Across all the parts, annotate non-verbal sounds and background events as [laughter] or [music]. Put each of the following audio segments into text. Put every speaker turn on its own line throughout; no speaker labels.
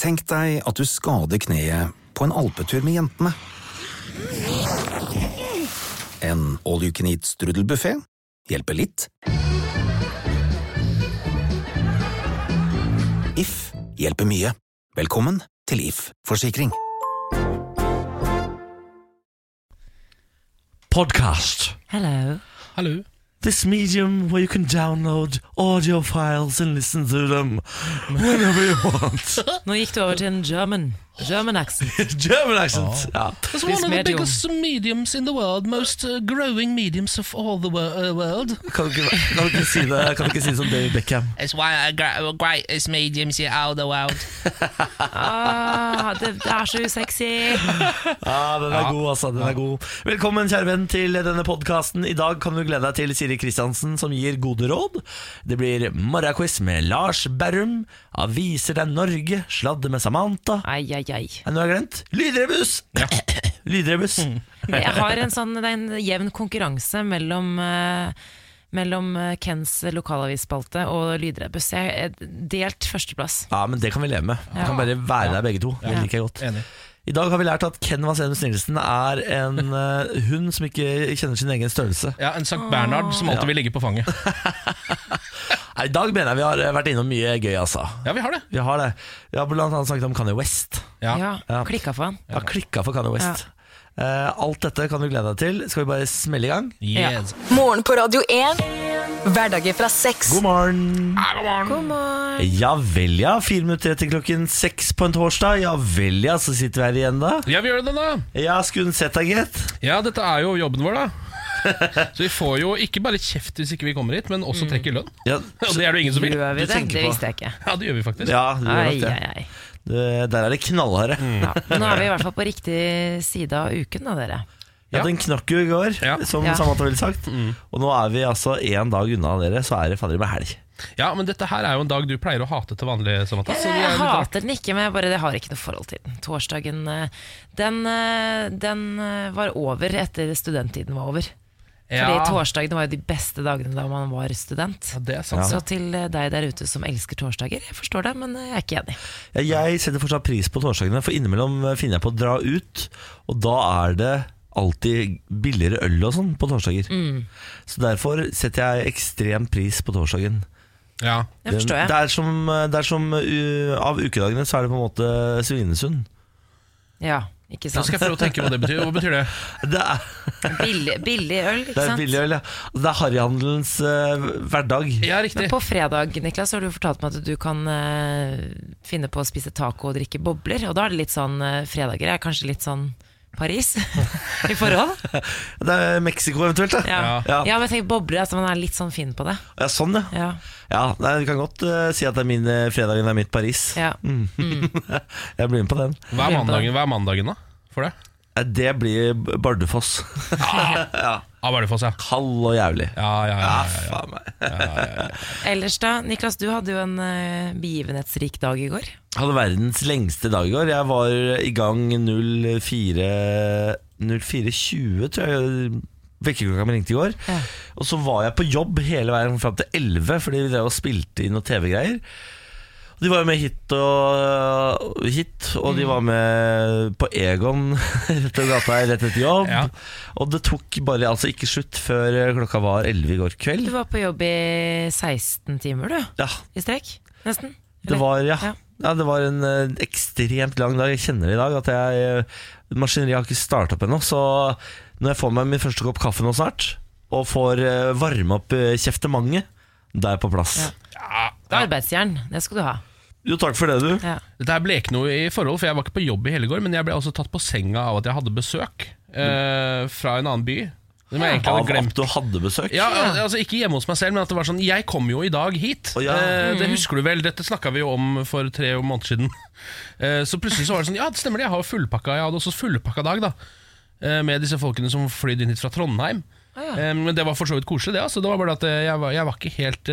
Tenk deg at du skader kneet på en alpetur med jentene. En all you can eat-strudelbuffé hjelper litt. If hjelper mye. Velkommen til If forsikring.
podcast.
Hello.
Hallo.
This medium where you can download audio files and listen to them whenever you want. [laughs]
Nå gikk du over til en German, German accent.
German accent. Ja.
It's one
This
of the
medium.
biggest mediums in the world, most uh, growing mediums of all the wor- uh, world.
Kan, du ikke, kan, du ikke si det, kan du ikke si det som David Beckham?
It's one of the gr- greatest uh, mediums in all the world.
Ah, det, det er så usexy.
Ja, den er god, altså. Den er god. Velkommen, kjære venn, til denne podkasten. I dag kan du glede deg til Siri Kristiansen, som gir gode råd. Det blir morgenquiz med Lars Berrum. Aviser deg Norge. Sladde med Samantha.
Ai, ai, ai.
Nei, nå har jeg glemt. Lydrebus! Lydrebus.
Jeg har en sånn det er en jevn konkurranse mellom eh, mellom eh, Kens lokalavisspalte og Lydrebus. Jeg er delt førsteplass.
Ja, men det kan vi leve med. Vi
Ja.
kan bare være der begge to. Det liker jeg godt.
Enig.
I dag har vi lært at Ken Vasenus Nilsen er en eh, hund som ikke kjenner sin egen størrelse.
Ja, En Sankt Bernhard som alltid vil ligge på fanget.
Nei, I dag mener jeg vi har eh, vært innom mye gøy, altså.
Ja, vi har det.
Vi har det. Vi har blant annet snakket om Kanye West.
Ja.
Ja,
Ja.
klikka for han.
Jeg har klikka for Kanye West. Eh, alt dette kan du glede deg til. Skal vi bare smelle i gang?
Yes.
Morgen på Radio 1. Hverdager fra seks.
God morgen!
God morgen.
Ja vel, ja. Fire minutter etter klokken seks på en torsdag. Ja vel, ja. Så sitter vi her igjen, da.
Ja, vi gjør det, da.
Ja, skulle hun sett deg, gitt.
Ja, dette er jo jobben vår, da. Så vi får jo ikke bare kjeft hvis ikke vi kommer hit, men også trekker lønn. [laughs]
Ja,
Og det er det jo ingen som vil.
Gjør
du
vi det?
tenker
Det
på-
visste jeg ikke.
Ja, det gjør vi faktisk.
ja du gjør
Ai,
nok det. Mm.
ai, ai.
Det- Der er det knallharde.
Mm.
Ja. men Nå er vi i hvert fall på riktig side av uken, da, dere.
Ja,
Ja.
den knakk jo i går,
Ja. Mm.
som
Ja.
Samantha ville sagt. Og nå er vi altså én dag unna dere, så er det fader med helg.
Ja, men dette her er jo en dag du pleier å hate til vanlig, Samantha. Så det er
Jeg
litt rart.
hater den ikke, men jeg bare, det har ikke noe forhold til den. Torsdagen eh, den, eh, den eh, var over etter studenttiden var over. Fordi
Ja,
torsdagene var jo de beste dagene da man var student.
Ja, det er sant.
Så til eh, deg der ute som elsker torsdager, jeg forstår det, men eh, jeg er ikke enig.
Ja, Jeg setter fortsatt pris på torsdagene, for innimellom eh, finner jeg på å dra ut. Og da er det alltid billigere øl og sånn på torsdager.
Mm.
Så derfor setter jeg ekstrem pris på torsdagen.
Ja.
Det forstår
Det
jeg.
er som, det er som uh, av ukedagene så er det på en måte Svinesund.
Ja, ikke
Da
sant.
skal jeg prøve å tenke hva det betyr. Hva betyr det?
Det er,
Billig, billig øl, ikke
det er
sant.
billig øl, ja. Det er harryhandelens eh, hverdag.
Ja, riktig.
Men på fredag Niklas, så har du fortalt meg at du kan eh, finne på å spise taco og drikke bobler. Og da er det litt sånn eh, Fredager er kanskje litt sånn Paris [laughs] i forhold.
Det er Mexico eventuelt, da.
Ja.
Ja.
Ja. men jeg tenker bobler, altså man er litt sånn fin på det.
Ja, sånn, ja.
Ja.
Ja, nei, Vi kan godt eh, si at det er min eh, fredagen er mitt Paris. Mm.
Ja.
[laughs] Jeg blir med på den.
Hva er mandagen, hva er mandagen da? For det?
Eh, Det blir Bardufoss. [laughs]
Ja, Bardufoss, ja.
Kald og jævlig.
Ja, ja, ja,
Ja,
ja, ja.
faen meg.
Ellers da, Niklas, du hadde jo en eh, begivenhetsrik dag i går.
Hadde verdens lengste dag i går. Jeg var i gang 04 04.20, tror jeg. Vekkerklokka mi ringte i går.
Ja.
Og så var jeg på jobb hele veien fram til 11, fordi vi drev og spilte inn noe TV-greier. Og De var jo med hit og hit, og
Mm.
de var med på Egon [laughs] rett over gata her, rett etter jobb.
Ja.
Og det tok bare altså ikke slutt før eh, klokka var 11 i går
Du
kveld.
var på jobb i 16 timer, du.
Ja,
I strekk, nesten.
det
Eller?
var, ja.
Ja.
Ja, det var en eh, ekstremt lang dag. Jeg kjenner det i dag at jeg eh, Maskineriet har ikke starta opp ennå, så når jeg får meg min første kopp kaffe nå snart, og får eh, varme opp eh, kjeftemanget, da er jeg på plass.
Det er Arbeidsjern, det skal du ha.
Jo, takk for det, du.
Ja.
Dette her ble ikke noe i forhold, for jeg var ikke på jobb i hele går, men jeg ble også tatt på senga av at jeg hadde besøk eh, fra en annen by. Som jeg egentlig
Mm. Av
hadde
at
glemt.
du hadde besøk.
Ja, al- altså Ikke hjemme hos meg selv, men at det var sånn Jeg kom jo i dag hit.
Å, ja. Mm.
Eh, det husker du vel? Dette snakka vi jo om for tre måneder siden. [laughs] Eh, så plutselig så var det sånn Ja, det stemmer det, jeg har jo fullpakka. Jeg hadde også fullpakka dag, da. Eh, med disse folkene som flydde inn hit fra Trondheim. Eh, Men det var for så vidt koselig, det. altså Det var bare at eh, jeg var, jeg var ikke helt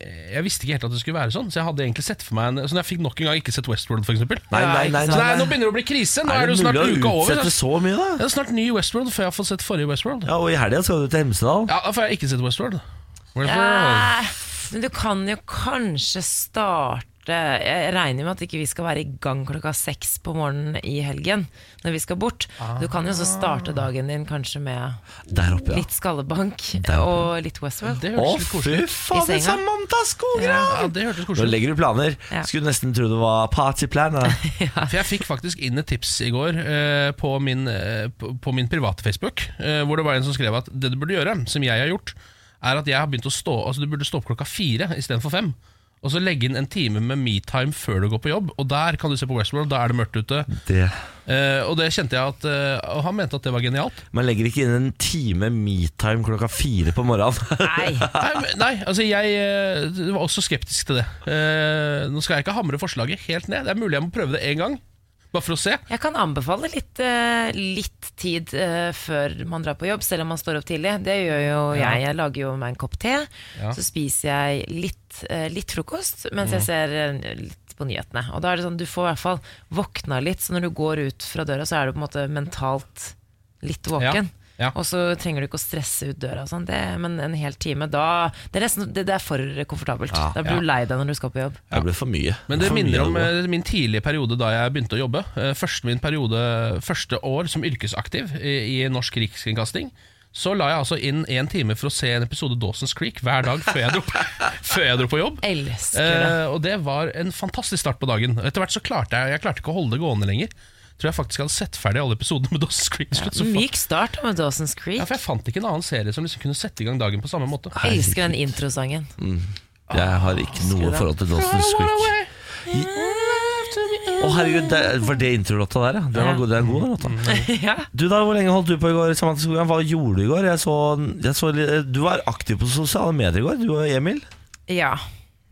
eh, Jeg visste ikke helt at det skulle være sånn, så jeg hadde egentlig sett for meg en Så når jeg fikk nok en gang ikke sett Westworld, for eksempel
Nei, nei,
Ja,
nei,
ikke
nei,
Så nei,
nei.
nå begynner det å bli krise. Nå
Er
er det jo
det
snart
mulig
uka
å
over.
utsette
altså.
så mye, da?
Det er snart ny Westworld før jeg har fått sett forrige Westworld.
Ja, og i helga skal du til Hemsedal.
Ja, da får
Ah!
jeg ikke sett Westworld. Westworld.
Ja, men du kan jo kanskje starte borte Jeg regner med at ikke vi skal være i gang klokka seks på morgenen i helgen når vi skal bort. Du kan jo så starte dagen din kanskje med
Der oppe, ja.
litt skallebank
Der oppe.
og litt Westworld.
Det
Å,
hørtes litt
fy
koselig ut.
I
fader,
senga.
Samantha Skogran!
Ja, det hørtes
Nå
koselig ut.
legger du planer.
Ja.
Skulle nesten tro det var partyplan.
[laughs]
da.
For jeg fikk faktisk inn et tips i går eh, på, min, eh, på, på min private Facebook, eh, hvor det var en som skrev at det du burde gjøre, som jeg har gjort, er at jeg har begynt å stå Altså du burde stå opp klokka fire istedenfor fem. Og så legge inn en time med metime før du går på jobb, og der kan du se på Westworld. Da er det mørkt ute.
Det.
Eh, og det kjente jeg at eh, Og han mente at det var genialt.
Man legger ikke inn en time metime klokka fire på morgenen. [laughs]
Nei,
Nei, men- nei altså jeg eh, var også skeptisk til det. Eh, nå skal jeg ikke hamre forslaget helt ned. Det er mulig jeg må prøve det én gang, bare for å se.
jeg kan anbefale litt, eh, litt tid eh, før man drar på jobb, selv om man står opp tidlig. Det gjør jo jeg. Jeg lager jo meg en kopp te,
Ja. Mhm.
så spiser jeg litt, eh, litt frokost mens jeg ser eh, litt på nyhetene. Og da er det sånn, du får i hvert fall våkna litt, så når du går ut fra døra, så er du på en måte mentalt litt våken.
Ja, ja.
Og så trenger du ikke å stresse ut døra, og sånn. det, men en hel time da Det er, nesten, det, det er for komfortabelt.
Ja.
da blir du lei deg når du skal på jobb.
Det ble for mye.
Men det
for mye
minner om
alvor.
eh, min tidlige periode da jeg begynte å jobbe. Eh, Første, min periode, første år som yrkesaktiv i, i norsk rikskringkasting. Så la jeg altså inn én time for å se en episode Dawson's Creek hver dag før jeg dro, [laughs] før jeg dro på jobb.
Elsker det.
Eh, og det var en fantastisk start på dagen. Etter hvert så klarte jeg Jeg klarte ikke å holde det gående lenger. Tror jeg faktisk hadde sett ferdig alle episodene med Dawson's Creek. til slutt, så fa-
Myk start med Dawson's Creek.
ja, for jeg fant ikke en annen serie som liksom kunne sette i gang dagen på samme måte.
Elsker den introsangen.
eh,
Jeg har ikke noe
det.
forhold til Dawson's Creek. Å herregud, det var det introlåta der, ja. Den var
Ja.
god, det er en god den
Mm.
låta.
ja.
Du da, Hvor lenge holdt du på i går? Samantha Skogran? Hva gjorde du i går? Jeg så, jeg så, du var aktiv på sosiale medier i går, du og Emil.
ja.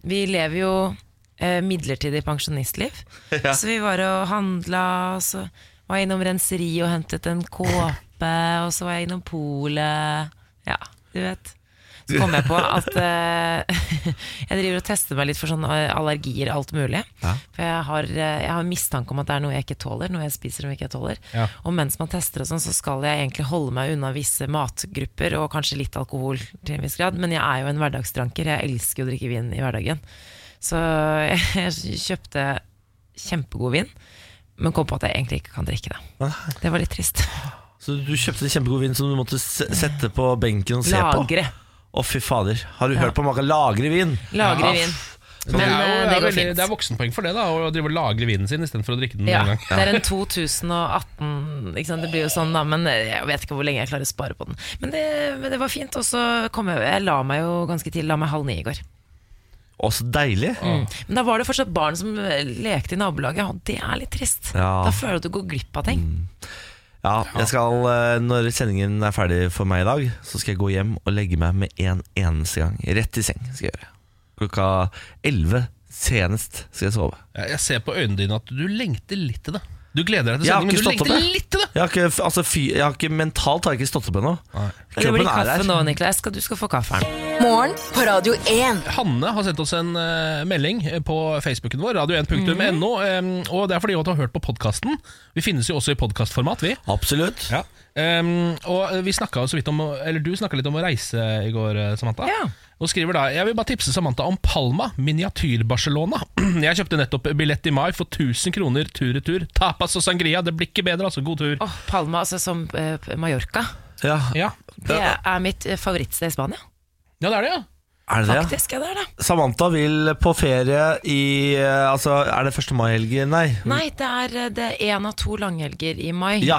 Vi lever jo eh, midlertidig pensjonistliv. Så vi var og handla, og så var jeg innom renseri og hentet en kåpe, og så var jeg innom polet. Ja, du vet. Så kom jeg på at eh, [laughs] jeg driver og tester meg litt for sånn eh, allergier, alt mulig. For jeg har, eh, jeg har mistanke om at det er noe jeg ikke tåler, noe jeg spiser som ikke jeg tåler.
Ja.
Og mens man tester og sånn, så skal jeg egentlig holde meg unna visse matgrupper og kanskje litt alkohol til en viss grad. Men jeg er jo en hverdagsdranker, jeg elsker å drikke vin i hverdagen. Så [laughs] jeg kjøpte kjempegod vin, men kom på at jeg egentlig ikke kan drikke det. Det var litt trist.
Så du kjøpte en kjempegod vin som du måtte se- sette på benken og se på?
Lagre.
Å, fy fader. Har du hørt på maken? Lagre vin!
Lagre
Ja.
vin.
Men det,
Men,
er jo,
eh,
det,
det
er
går
veldig,
fint.
det er voksenpoeng for det, da å drive og lagre vinen sin istedenfor å drikke den med
Ja,
en gang.
det er en 2018 ikke sant? Det blir jo sånn da, men jeg vet ikke hvor lenge jeg klarer å spare på den. Men det, men det var fint, og så kom jeg Jeg la meg jo ganske tidlig, la meg halv ni i går. Mm.
Å, så deilig.
Mm.
Men da var det fortsatt barn som eh, lekte i nabolaget, og det er litt trist.
Ja.
Da føler du at du går glipp av ting.
Mm.
Ja, jeg skal, eh, når sendingen er ferdig for meg i dag, så skal jeg gå hjem og legge meg med en eneste gang. Rett i seng skal jeg gjøre. Klokka 11 senest skal jeg sove.
Jeg jeg ser på øynene dine at du lengter litt til det. Du gleder deg til
Jeg har
sending, men
ikke
du
stått opp,
lengter
jeg.
litt til det!
Jeg har ikke, altså, fy, jeg har ikke mentalt har jeg ikke stått opp ennå.
Det blir
Kroppen er
kaffe
her.
nå, Niklas. Skal- Du skal få kaffen.
Morgen på Radio 1.
Hanne har sendt oss en eh, melding eh, på Facebooken vår, radio1.no,
Mhm.
em, eh, og det er fordi hun har hørt på podkasten. Vi finnes jo også i podkastformat, vi.
Absolutt.
Em, og eh, vi snakket jo så vidt om, å- eller du snakka litt om å reise i går, eh, Samantha.
Ja.
Og skriver da Jeg vil bare tipse Samantha om Palma, miniatyr-Barcelona. [clears throat] Jeg kjøpte nettopp billett i mai for 1000 kroner tur-retur. Tapas og sangria, det blir ikke bedre, altså. God tur.
Åh, Palma, altså som eh, Mallorca.
Ja.
Ja.
Det er mitt eh, favorittsted i Spania.
ja, det er det, ja.
Er det det?
Faktisk er det det.
Samantha vil på ferie i eh, Altså, er det 1. mai-helg? Nei.
Mm.
Nei, det er eh, det er en av to langhelger i mai.
Ja,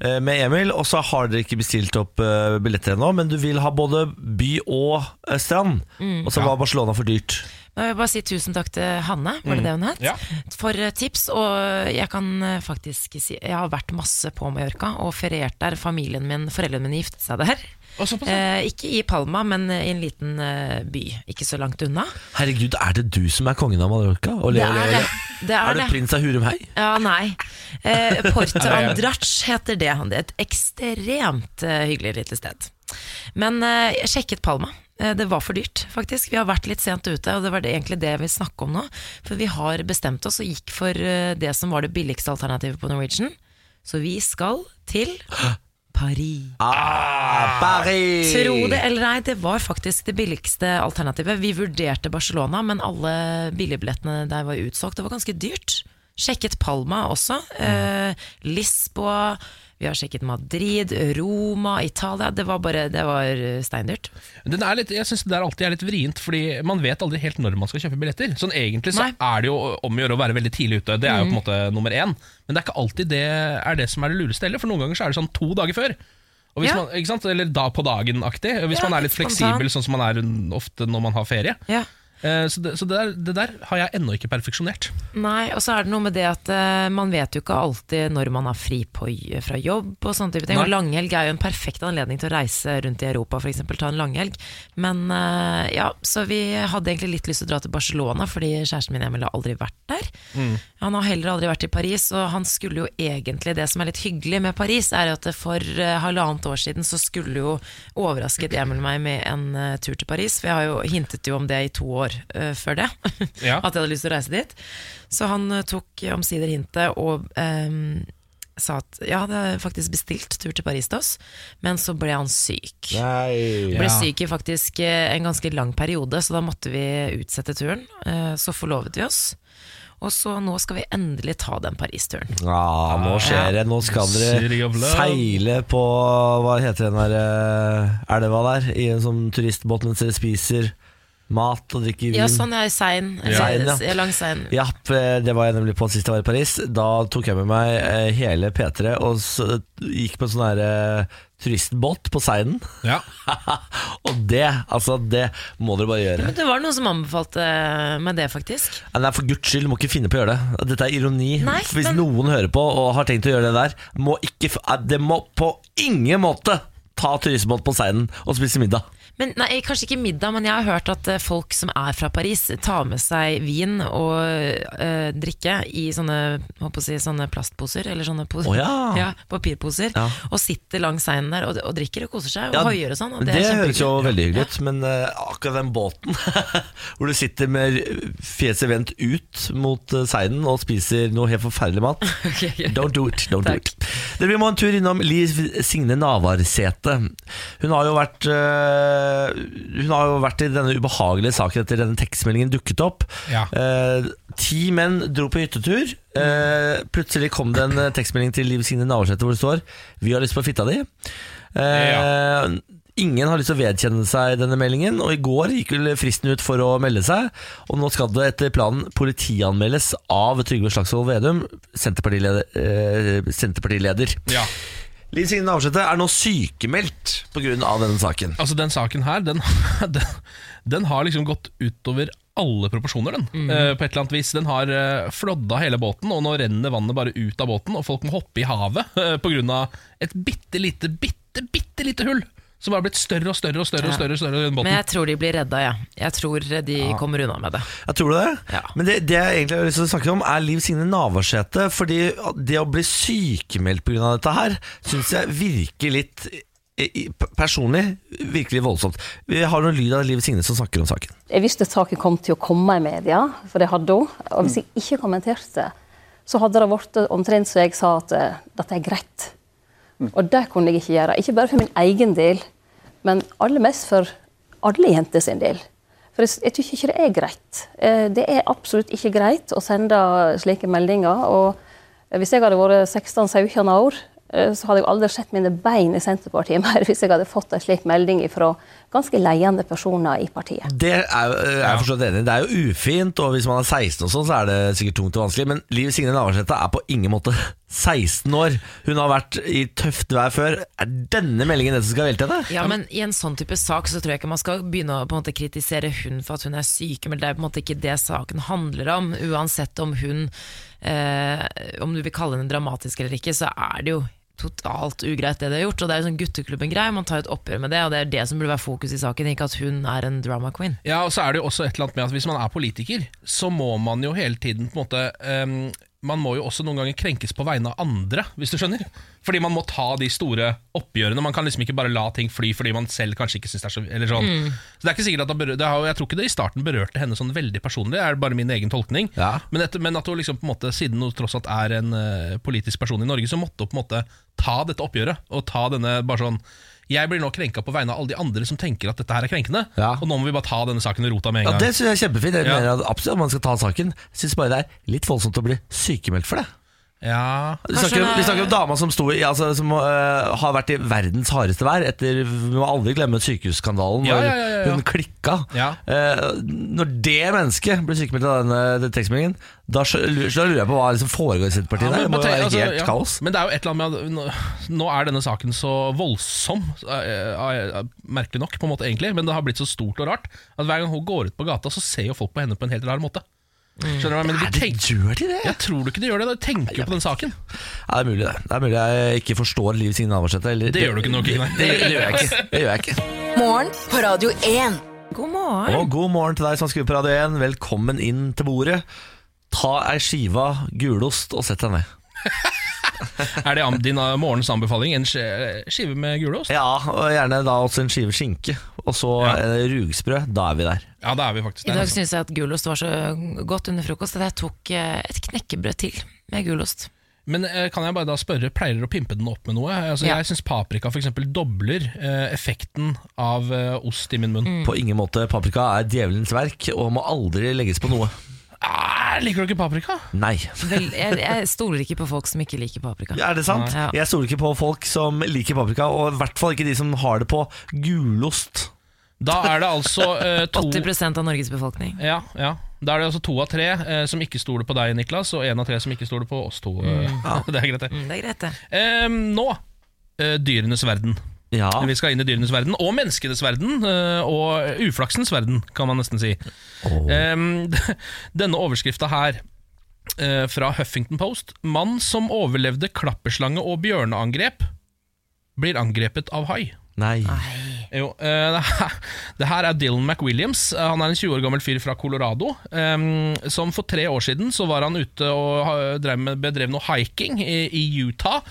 eh, med Emil. Og så har dere ikke bestilt opp eh, billetter ennå, men du vil ha både by og eh, strand.
Mm.
Og så var Barcelona for dyrt.
Men Jeg vil bare si tusen takk til Hanne, var det det hun het?
Ja.
For eh, tips, og jeg kan eh, faktisk si Jeg har vært masse på Mallorca og feriert der. Familien min, foreldrene mine giftet seg der.
Og såpass, ja.
Eh, ikke i Palma, men i en liten eh, by ikke så langt unna.
Herregud, er det du som er kongen av Mallorca? Ole,
Det
ole,
er
ole.
det. Det er,
Er det
det.
prins av Hurumhei?
Ja, nei. Eh, Porto
det er-
Andrach heter det. Det er Et ekstremt eh, hyggelig lite sted. Men eh, jeg sjekket Palma. Eh, det var for dyrt, faktisk. Vi har vært litt sent ute, og det var det, egentlig det jeg vil snakke om nå. For vi har bestemt oss og gikk for eh, det som var det billigste alternativet på Norwegian. Så vi skal til Paris.
Ah, Paris!
Tro det eller nei, det var faktisk det billigste alternativet. Vi vurderte Barcelona, men alle billigbillettene der var utsolgt. Det var ganske dyrt. Sjekket Palma også. Eh, Lisboa. Vi har sjekket Madrid, Roma, Italia. Det var bare det var eh, steindyrt.
Den er litt, jeg synes det der alltid er litt vrient, Fordi man vet aldri helt når man skal kjøpe billetter. Sånn Egentlig så
Nei. Mm.
er det jo om å gjøre å være veldig tidlig ute. Det er jo på en måte nummer én. Men det er ikke alltid det er det som er det lureste heller, for noen ganger så er det sånn to dager før. Og hvis
Ja.
man, ikke sant? Eller da på dagen-aktig. Hvis
Ja,
man er litt
spontan.
fleksibel, sånn som man er ofte når man har ferie.
Ja.
Eh, Så det, så det, der, det der har jeg ennå ikke perfeksjonert.
Nei, og så er det noe med det at eh, man vet jo ikke alltid når man har fri på, fra jobb og sånne type ting.
Nei.
Og langhelg er jo en perfekt anledning til å reise rundt i Europa, f.eks. ta en langhelg. Men eh, ja, så vi hadde egentlig litt lyst til å dra til Barcelona, fordi kjæresten min Emil har aldri vært der.
Mm.
Han har heller aldri vært i Paris, og han skulle jo egentlig Det som er litt hyggelig med Paris, er at for eh, halvannet år siden så skulle jo overrasket Emil meg med en eh, tur til Paris, for jeg har jo hintet jo om det i to år eh, før det.
Ja.
[laughs] At jeg hadde lyst til å reise dit. Så han eh, tok omsider hintet og ehm, sa at ja, det er faktisk bestilt tur til Paris til oss, men så ble han syk.
Nei.
Ble
Ja.
syk i faktisk eh, en ganske lang periode, så da måtte vi utsette turen. Eh, Så forlovet vi oss. Og så nå skal vi endelig ta den Paris-turen.
Ah, nå skjer det. Nå skal
City
dere
of love.
seile på Hva heter den der eh, elva der? I en sånn turistbåt mens dere spiser mat og drikker vin.
Ja, sånn jeg er i Sein.
Seien, ja.
Eller, ja. Langs Sein.
Ja, eh, det var jeg nemlig på sist jeg var i Paris. Da tok jeg med meg eh, hele P3 og s- gikk på en sånn her eh, turistbåt på Seinen.
Ja.
[laughs] og det, altså, det må dere bare gjøre.
Men det var noen som anbefalte meg det, faktisk.
Nei, nei, for guds skyld, du må ikke finne på å gjøre det. Dette er ironi.
Nei,
Hvis
men-
noen hører på og har tenkt å gjøre det der, må ikke f- eh, Det må på ingen måte ta turistbåt på Seinen og spise middag.
Men nei, Kanskje ikke middag, men jeg har hørt at eh, folk som er fra Paris, tar med seg vin og eh, drikke i sånne, håper å si, sånne plastposer, eller sånne po-
Å
[laughs]
ja.
papirposer,
Ja.
og sitter langs seinen der og, og drikker og koser seg og
Ja,
hoier og sånn. Og
det
er
høres jo
kjempehyggelig.
veldig hyggelig ut, men eh, akkurat den båten [laughs] hvor du sitter med fjeset vendt ut mot eh, seinen og spiser noe helt forferdelig mat
[laughs] Ok, ok.
Don't do it. don't do
Takk.
it Dere, Vi må en tur innom Liv Signe Navarsete. Hun har jo vært eh, Hun har jo vært i denne ubehagelige saken etter denne tekstmeldingen dukket opp.
Ja.
Eh, ti menn dro på hyttetur. Eh, plutselig kom det en eh, tekstmelding til Liv Signe Navarsete hvor det står 'Vi har lyst på fitta di'. Eh, Ingen har lyst til å vedkjenne seg denne meldingen, og i går gikk vel fristen ut for å melde seg. Og nå skal det etter planen politianmeldes av Trygve Slagsvold Vedum, Senterpartileder. Eh, senterpartileder.
ja.
Liv Signe Navarsete er nå sykemeldt pga. denne saken.
Altså Den saken her, den, [laughs] den, den har liksom gått utover alle proporsjoner, den. eh, på et eller annet vis. Den har eh, flodda hele båten, og nå renner vannet bare ut av båten, og folk må hoppe i havet uh, pga. et bitte lite, bitte, bitte lite hull. Som har blitt større og større og større. og større, og større i den båten
Men jeg tror de blir redda, jeg. Jeg tror eh, de kommer unna med det.
Jeg tror det.
Ja.
Men det, det jeg egentlig har lyst til å snakke om, er Liv Signe Navarsete. Fordi det å bli sykemeldt pga. dette her, syns jeg virker litt eh, i- i- Personlig virkelig voldsomt. Vi har noen lyd av Liv Signe som snakker om saken.
Jeg visste saken kom til å komme i media, for det hadde hun. Og hvis jeg ikke kommenterte, så hadde det blitt omtrent som jeg sa at eh, dette er greit. Og det kunne jeg ikke gjøre. Ikke bare for min egen del, men aller mest for alle jenter sin del. For jeg, s- jeg tykker ikke det er greit. Eh, Det er absolutt ikke greit å sende slike meldinger. Og hvis jeg hadde vært 16-17 år, eh, så hadde jeg aldri sett mine bein i Senterpartiet [laughs] mer hvis jeg hadde fått en slik melding fra ganske leiende personer i partiet.
Det er, jo- er jeg forstått enig i. Det er jo ufint, og hvis man er 16 og sånn, så er det sikkert tungt og vanskelig. Men Liv Signe Navarsete er på ingen måte [laughs] 16 år. Hun har vært i tøft vær før. Er denne meldingen det som skal velte henne?
Ja, men I en sånn type sak så tror jeg ikke man skal begynne å på en måte kritisere hun for at hun er syk, men det er på en måte ikke det saken handler om. Uansett om hun eh, Om du vil kalle henne dramatisk eller ikke, så er det jo totalt ugreit det de har gjort. Og Det er jo sånn gutteklubben-greie, man tar jo et oppgjør med det, og det er det som burde være fokus i saken, ikke at hun er en drama queen.
Ja, og så er det jo også et eller annet med at hvis man er politiker, så må man jo hele tiden på en måte ehm, Man må jo også noen ganger krenkes på vegne av andre, hvis du skjønner. Fordi man må ta de store oppgjørene. Man kan liksom ikke bare la ting fly fordi man selv kanskje ikke syns det er så Eller sånn. Så det er ikke sikkert at det berø- det har, Jeg tror ikke det i starten berørte henne sånn veldig personlig, det er bare min egen tolkning.
Ja.
Men, etter, men at hun liksom på en måte, siden hun tross alt er en eh, politisk person i Norge, så måtte hun på en måte ta dette oppgjøret. Og ta denne bare sånn Jeg blir nå krenka på vegne av alle de andre som tenker at dette her er krenkende.
Ja.
Og nå må vi bare ta denne saken i rota med en
Ja,
gang.
Det syns jeg er kjempefint. Jeg
Ja.
mener at absolutt at man skal ta saken. Jeg syns bare det er litt voldsomt å bli sykemeldt for det.
Ja.
Vi snakker, om-
Kanskje-
vi snakker om dama som, sto i, altså, som øh, har vært i verdens hardeste vær. Etter, vi må aldri glemme sykehusskandalen
Ja,
hvor
ja, ja, ja.
hun klikka.
Ja.
Eh, når det mennesket blir sykemeldt av denne den tekstmeldingen, da, skjø- da lurer jeg på hva som foregår i Senterpartiet.
Ja,
der. det
men
må
bare
jo
tenk-
være
altså,
helt
ja.
kaos.
Men det er jo et eller annet med at Nå er denne saken så voldsom, eh, eh, merkelig nok, på en måte egentlig men det har blitt så stort og rart at hver gang hun går ut på gata, så ser jo folk på henne på en helt rar måte. Skjønner du hva jeg mener?
Er Mm.
De
det,
tenker,
gjør de det? Ja.
jeg tror du ikke de gjør det, de tenker jo på den saken.
det er mulig det. Det er mulig jeg ikke forstår Liv Signe Navarsete. eller-
Det gjør du ikke nok, ikke nei.
Det, det, gjør jeg ikke. det gjør jeg ikke.
Morgen på Radio 1.
God morgen.
Og god morgen til deg som skriver på Radio 1. Velkommen inn til bordet. Ta ei skive gulost og sett deg ned.
Er det am- din eh, morgens anbefaling? En sk- eh, skive med gulost?
Ja, og gjerne da også en skive skinke. Og så
Ja.
eh, rugsprø. Da er vi der.
Ja, da er vi faktisk
I
der.
dag
Altså.
syns jeg at gulost var så godt under frokost at jeg tok eh, et knekkebrød til med gulost.
Men eh, kan jeg bare da spørre, pleier dere å pimpe den opp med noe? Altså,
Ja.
Jeg syns paprika f.eks. dobler eh, effekten av eh, ost i min munn.
Mm.
På ingen måte. Paprika er djevelens verk og må aldri legges på noe.
Ah, liker du ikke paprika?
Nei.
Vel, jeg, jeg stoler ikke på folk som ikke liker paprika.
Er det sant?
Ja.
Jeg stoler ikke på folk som liker paprika, og i hvert fall ikke de som har det på gulost.
Da er det altså eh, to
80 av Norges befolkning.
Ja, ja. Da er det altså to av tre eh, som ikke stoler på deg, Niklas, og én av tre som ikke stoler på oss to. eh. [laughs] det er greit, det.
Mm, Det er greit, det.
Eh, nå eh, dyrenes verden.
Ja.
Vi skal inn i dyrenes verden, og menneskenes verden, eh, og uflaksens verden, kan man nesten si. Eh, [laughs] denne overskrifta her eh, fra Huffington Post. Mann som overlevde klapperslange og bjørneangrep, blir angrepet av hai.
Nei.
Jo, eh, [laughs] det her- det her er Dylan McWilliams. Eh, Han er en 20 år gammel fyr fra Colorado. eh, som for tre år siden så var han ute og ha- drev med, bedrev noe hiking i, i Utah.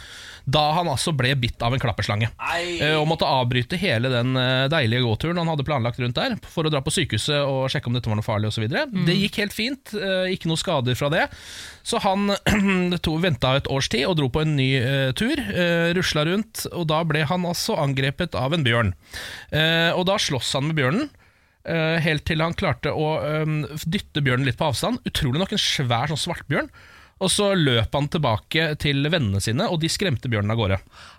Da han altså ble bitt av en klapperslange. Eh, og måtte avbryte hele den eh, deilige gåturen han hadde planlagt rundt der, for å dra på sykehuset og sjekke om dette var noe farlig osv. videre Det gikk helt fint, eh, ikke noe skader fra det. Så han venta et års tid og dro på en ny eh, tur. Uh, Rusla rundt, og da ble han altså angrepet av en bjørn. Eh, og da sloss han med bjørnen. eh, helt til han klarte å eh, dytte bjørnen litt på avstand. Utrolig nok en svær sånn svartbjørn. Og så løp han tilbake til vennene sine, og de skremte bjørnen av gårde.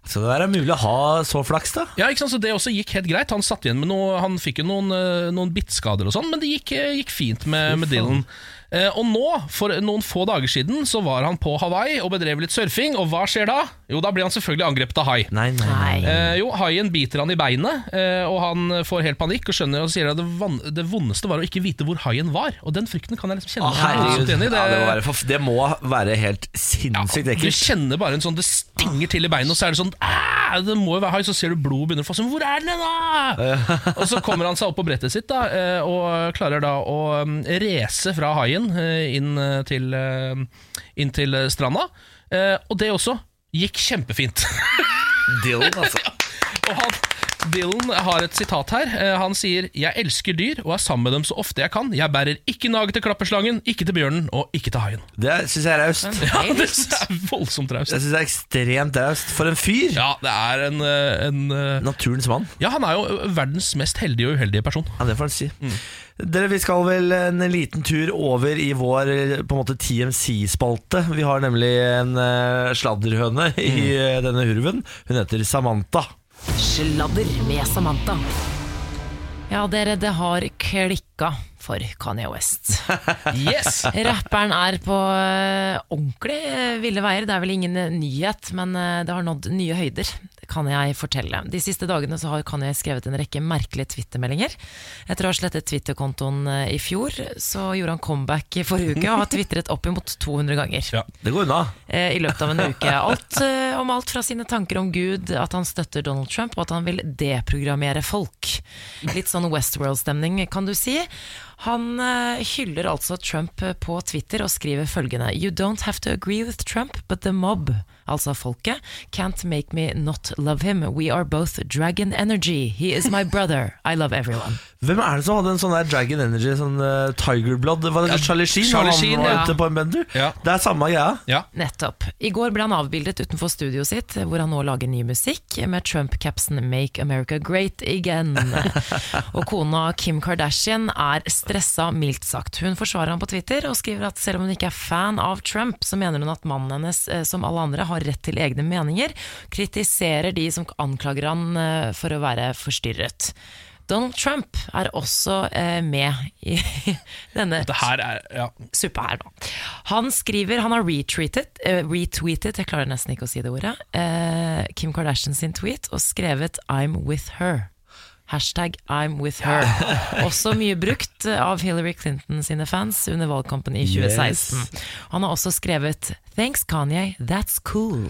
Skal det være mulig å ha så flaks, da?
Ja, ikke sant, så Det også gikk helt greit. Han satt igjen med noe Han fikk jo noen, eh, noen bittskader og sånn, men det gikk, eh, gikk fint med, med Dylan. Eh, og nå, for noen få dager siden, så var han på Hawaii og bedrev litt surfing. Og hva skjer da? Jo, da blir han selvfølgelig angrepet av hai.
Nei, nei. nei.
Eh, jo, haien biter han i beinet, eh, og han får helt panikk og skjønner og sier at det, van det vondeste var å ikke vite hvor haien var. Og den frykten kan jeg liksom kjenne.
Å, herregud.
Jeg er absolutt enig i
Ja, det, må være, forf- det må være helt sinnssykt
du
ekkelt.
kjenner bare en sånn Det stinger til i beinet, og så er det sånn «Æ, Det må jo være hai, så ser du blod begynner å fosse. men Hvor er den hen, da? [laughs] og så kommer han seg opp på brettet sitt da eh, og klarer da å um, race fra haien eh, inn eh, til, eh, inn til eh, stranda. Eh, Og det også gikk kjempefint. [laughs]
Dylan, altså.
Og han, Dylan har et sitat her. Eh, Han sier 'Jeg elsker dyr og er sammen med dem så ofte jeg kan'. 'Jeg bærer ikke nag til klapperslangen, ikke til bjørnen og ikke til haien'.
Det syns jeg er raust.
[laughs] Ja, [laughs] det er voldsomt raust.
Jeg syns det er ekstremt raust. For en fyr!
Ja, det er en, eh, en eh,
Naturens mann.
Ja, han er jo eh, verdens mest heldige og uheldige person.
Ja, det får en si.
Mm.
Dere, Vi skal vel en liten tur over i vår eh, på en måte TMC-spalte. Vi har nemlig en eh, sladderhøne i
Mm.
eh, denne hurven. Hun heter Samantha.
Sladder med Samantha. Ja, dere, det har klikka for Kanye West.
[laughs] Yes!
Rapperen er på eh, ordentlig eh, ville veier. Det er vel ingen eh, nyhet, men eh, det har nådd nye høyder, det kan jeg fortelle. De siste dagene så har Kanye skrevet en rekke merkelige twittermeldinger. Etter å ha slettet twitterkontoen eh, i fjor, så gjorde han comeback i forrige
[laughs]
uke og har tvitret oppimot 200 ganger
Ja.
Det går unna.
eh, i løpet av en uke. Alt eh, om alt fra sine tanker om Gud, at han støtter Donald Trump, og at han vil deprogrammere folk. Litt sånn Westworld-stemning, kan du si. Han eh, hyller altså Trump eh, på Twitter og skriver følgende You don't have to agree with Trump, but the mob, altså folket, can't make me not love him. We are both dragon energy. He is my brother. I love everyone.
Hvem er det som hadde en sånn der Dragon Energy, sånn eh, Tiger Blood? Var det
Ja,
Charlie Sheen?
Charlie
han
Sheen,
var
ja.
ute på en bender?
Ja.
Det er samme greia.
Ja.
Nettopp. I går ble han avbildet utenfor studioet sitt, hvor han nå lager ny musikk med Trump-capsen 'Make America Great Again'. og kona Kim Kardashian er stressa, mildt sagt. Hun forsvarer ham på Twitter og skriver at selv om hun ikke er fan av Trump, så mener hun at mannen hennes, eh, som alle andre, har rett til egne meninger. Kritiserer de som anklager han eh, for å være forstyrret. Donald Trump er også eh, med i [laughs] denne
Det her er ja.
suppa her nå. Han skriver, han har retweetet, eh, retweetet jeg klarer nesten ikke å si det ordet, eh, Kim Kardashian sin tweet og skrevet I'm with her. Hashtag I'm with her. Også mye brukt av Hillary Clinton sine fans under valgkampen i 2016. Han har også skrevet Thanks Kanye, that's cool.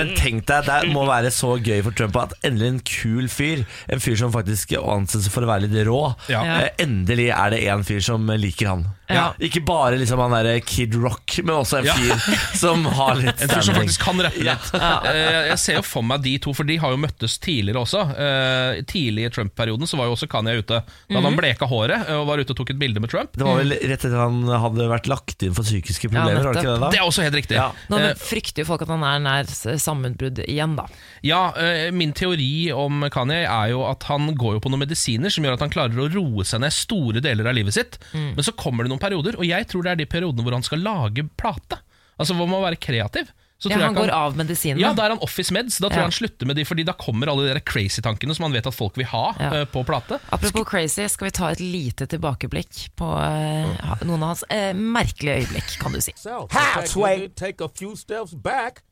Men tenk deg, det må være så gøy for Trump at endelig en kul fyr, en fyr som faktisk anses for å være litt rå,
Ja.
eh, endelig er det en fyr som liker han.
Ja.
Ikke bare liksom han derre Kid Rock, men også en
Ja.
[laughs]
fyr som har litt
En fyr som
standing.
faktisk kan rappe litt.
[laughs]
Eh, Jeg ser jo for meg de to, for de har jo møttes tidligere også. Eh, Tidlig i Trump-perioden så var jo også Kanye ute. Da
Mhm.
hadde han bleka håret eh, og var ute og tok et bilde med Trump.
Det var vel rett etter han hadde vært lagt inn for psykiske problemer, var det ikke det da?
Det er også helt riktig.
Ja.
Nå
Eh,
frykter jo folk at han er nær sammenbrudd igjen, da.
Ja, eh, Min teori om Kanye er jo at han går jo på noen medisiner som gjør at han klarer å roe seg ned store deler av livet sitt.
Mm.
Men så kommer det noen perioder, og jeg tror det er de periodene hvor han skal lage plate. Altså hvor man må være kreativ. Så
Ja,
tror jeg
han
ikke
går av medisinen.
Ja, da er han office meds. Da tror
Ja.
jeg han slutter med de, Fordi da kommer alle de der crazy tankene som han vet at folk vil ha
Ja.
eh, på plate.
Apropos crazy, skal vi ta et lite tilbakeblikk på eh, ha- noen av hans eh, merkelige øyeblikk, kan du si.
halfway. Take a few steps back.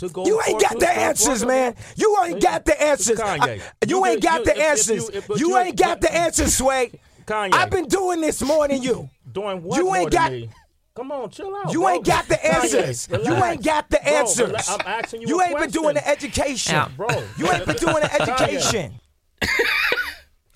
You ain't got the answers, man. You ain't got the answers. I- you ain't got the answers. You ain't got the answers, Sway. I've been doing this more than you. Doing what? You ain't got. Come on, chill out. You ain't got the answers. You ain't got the answers. I'm asking you. You ain't been doing the education,
Ja.
bro. You ain't been doing [laughs] the education.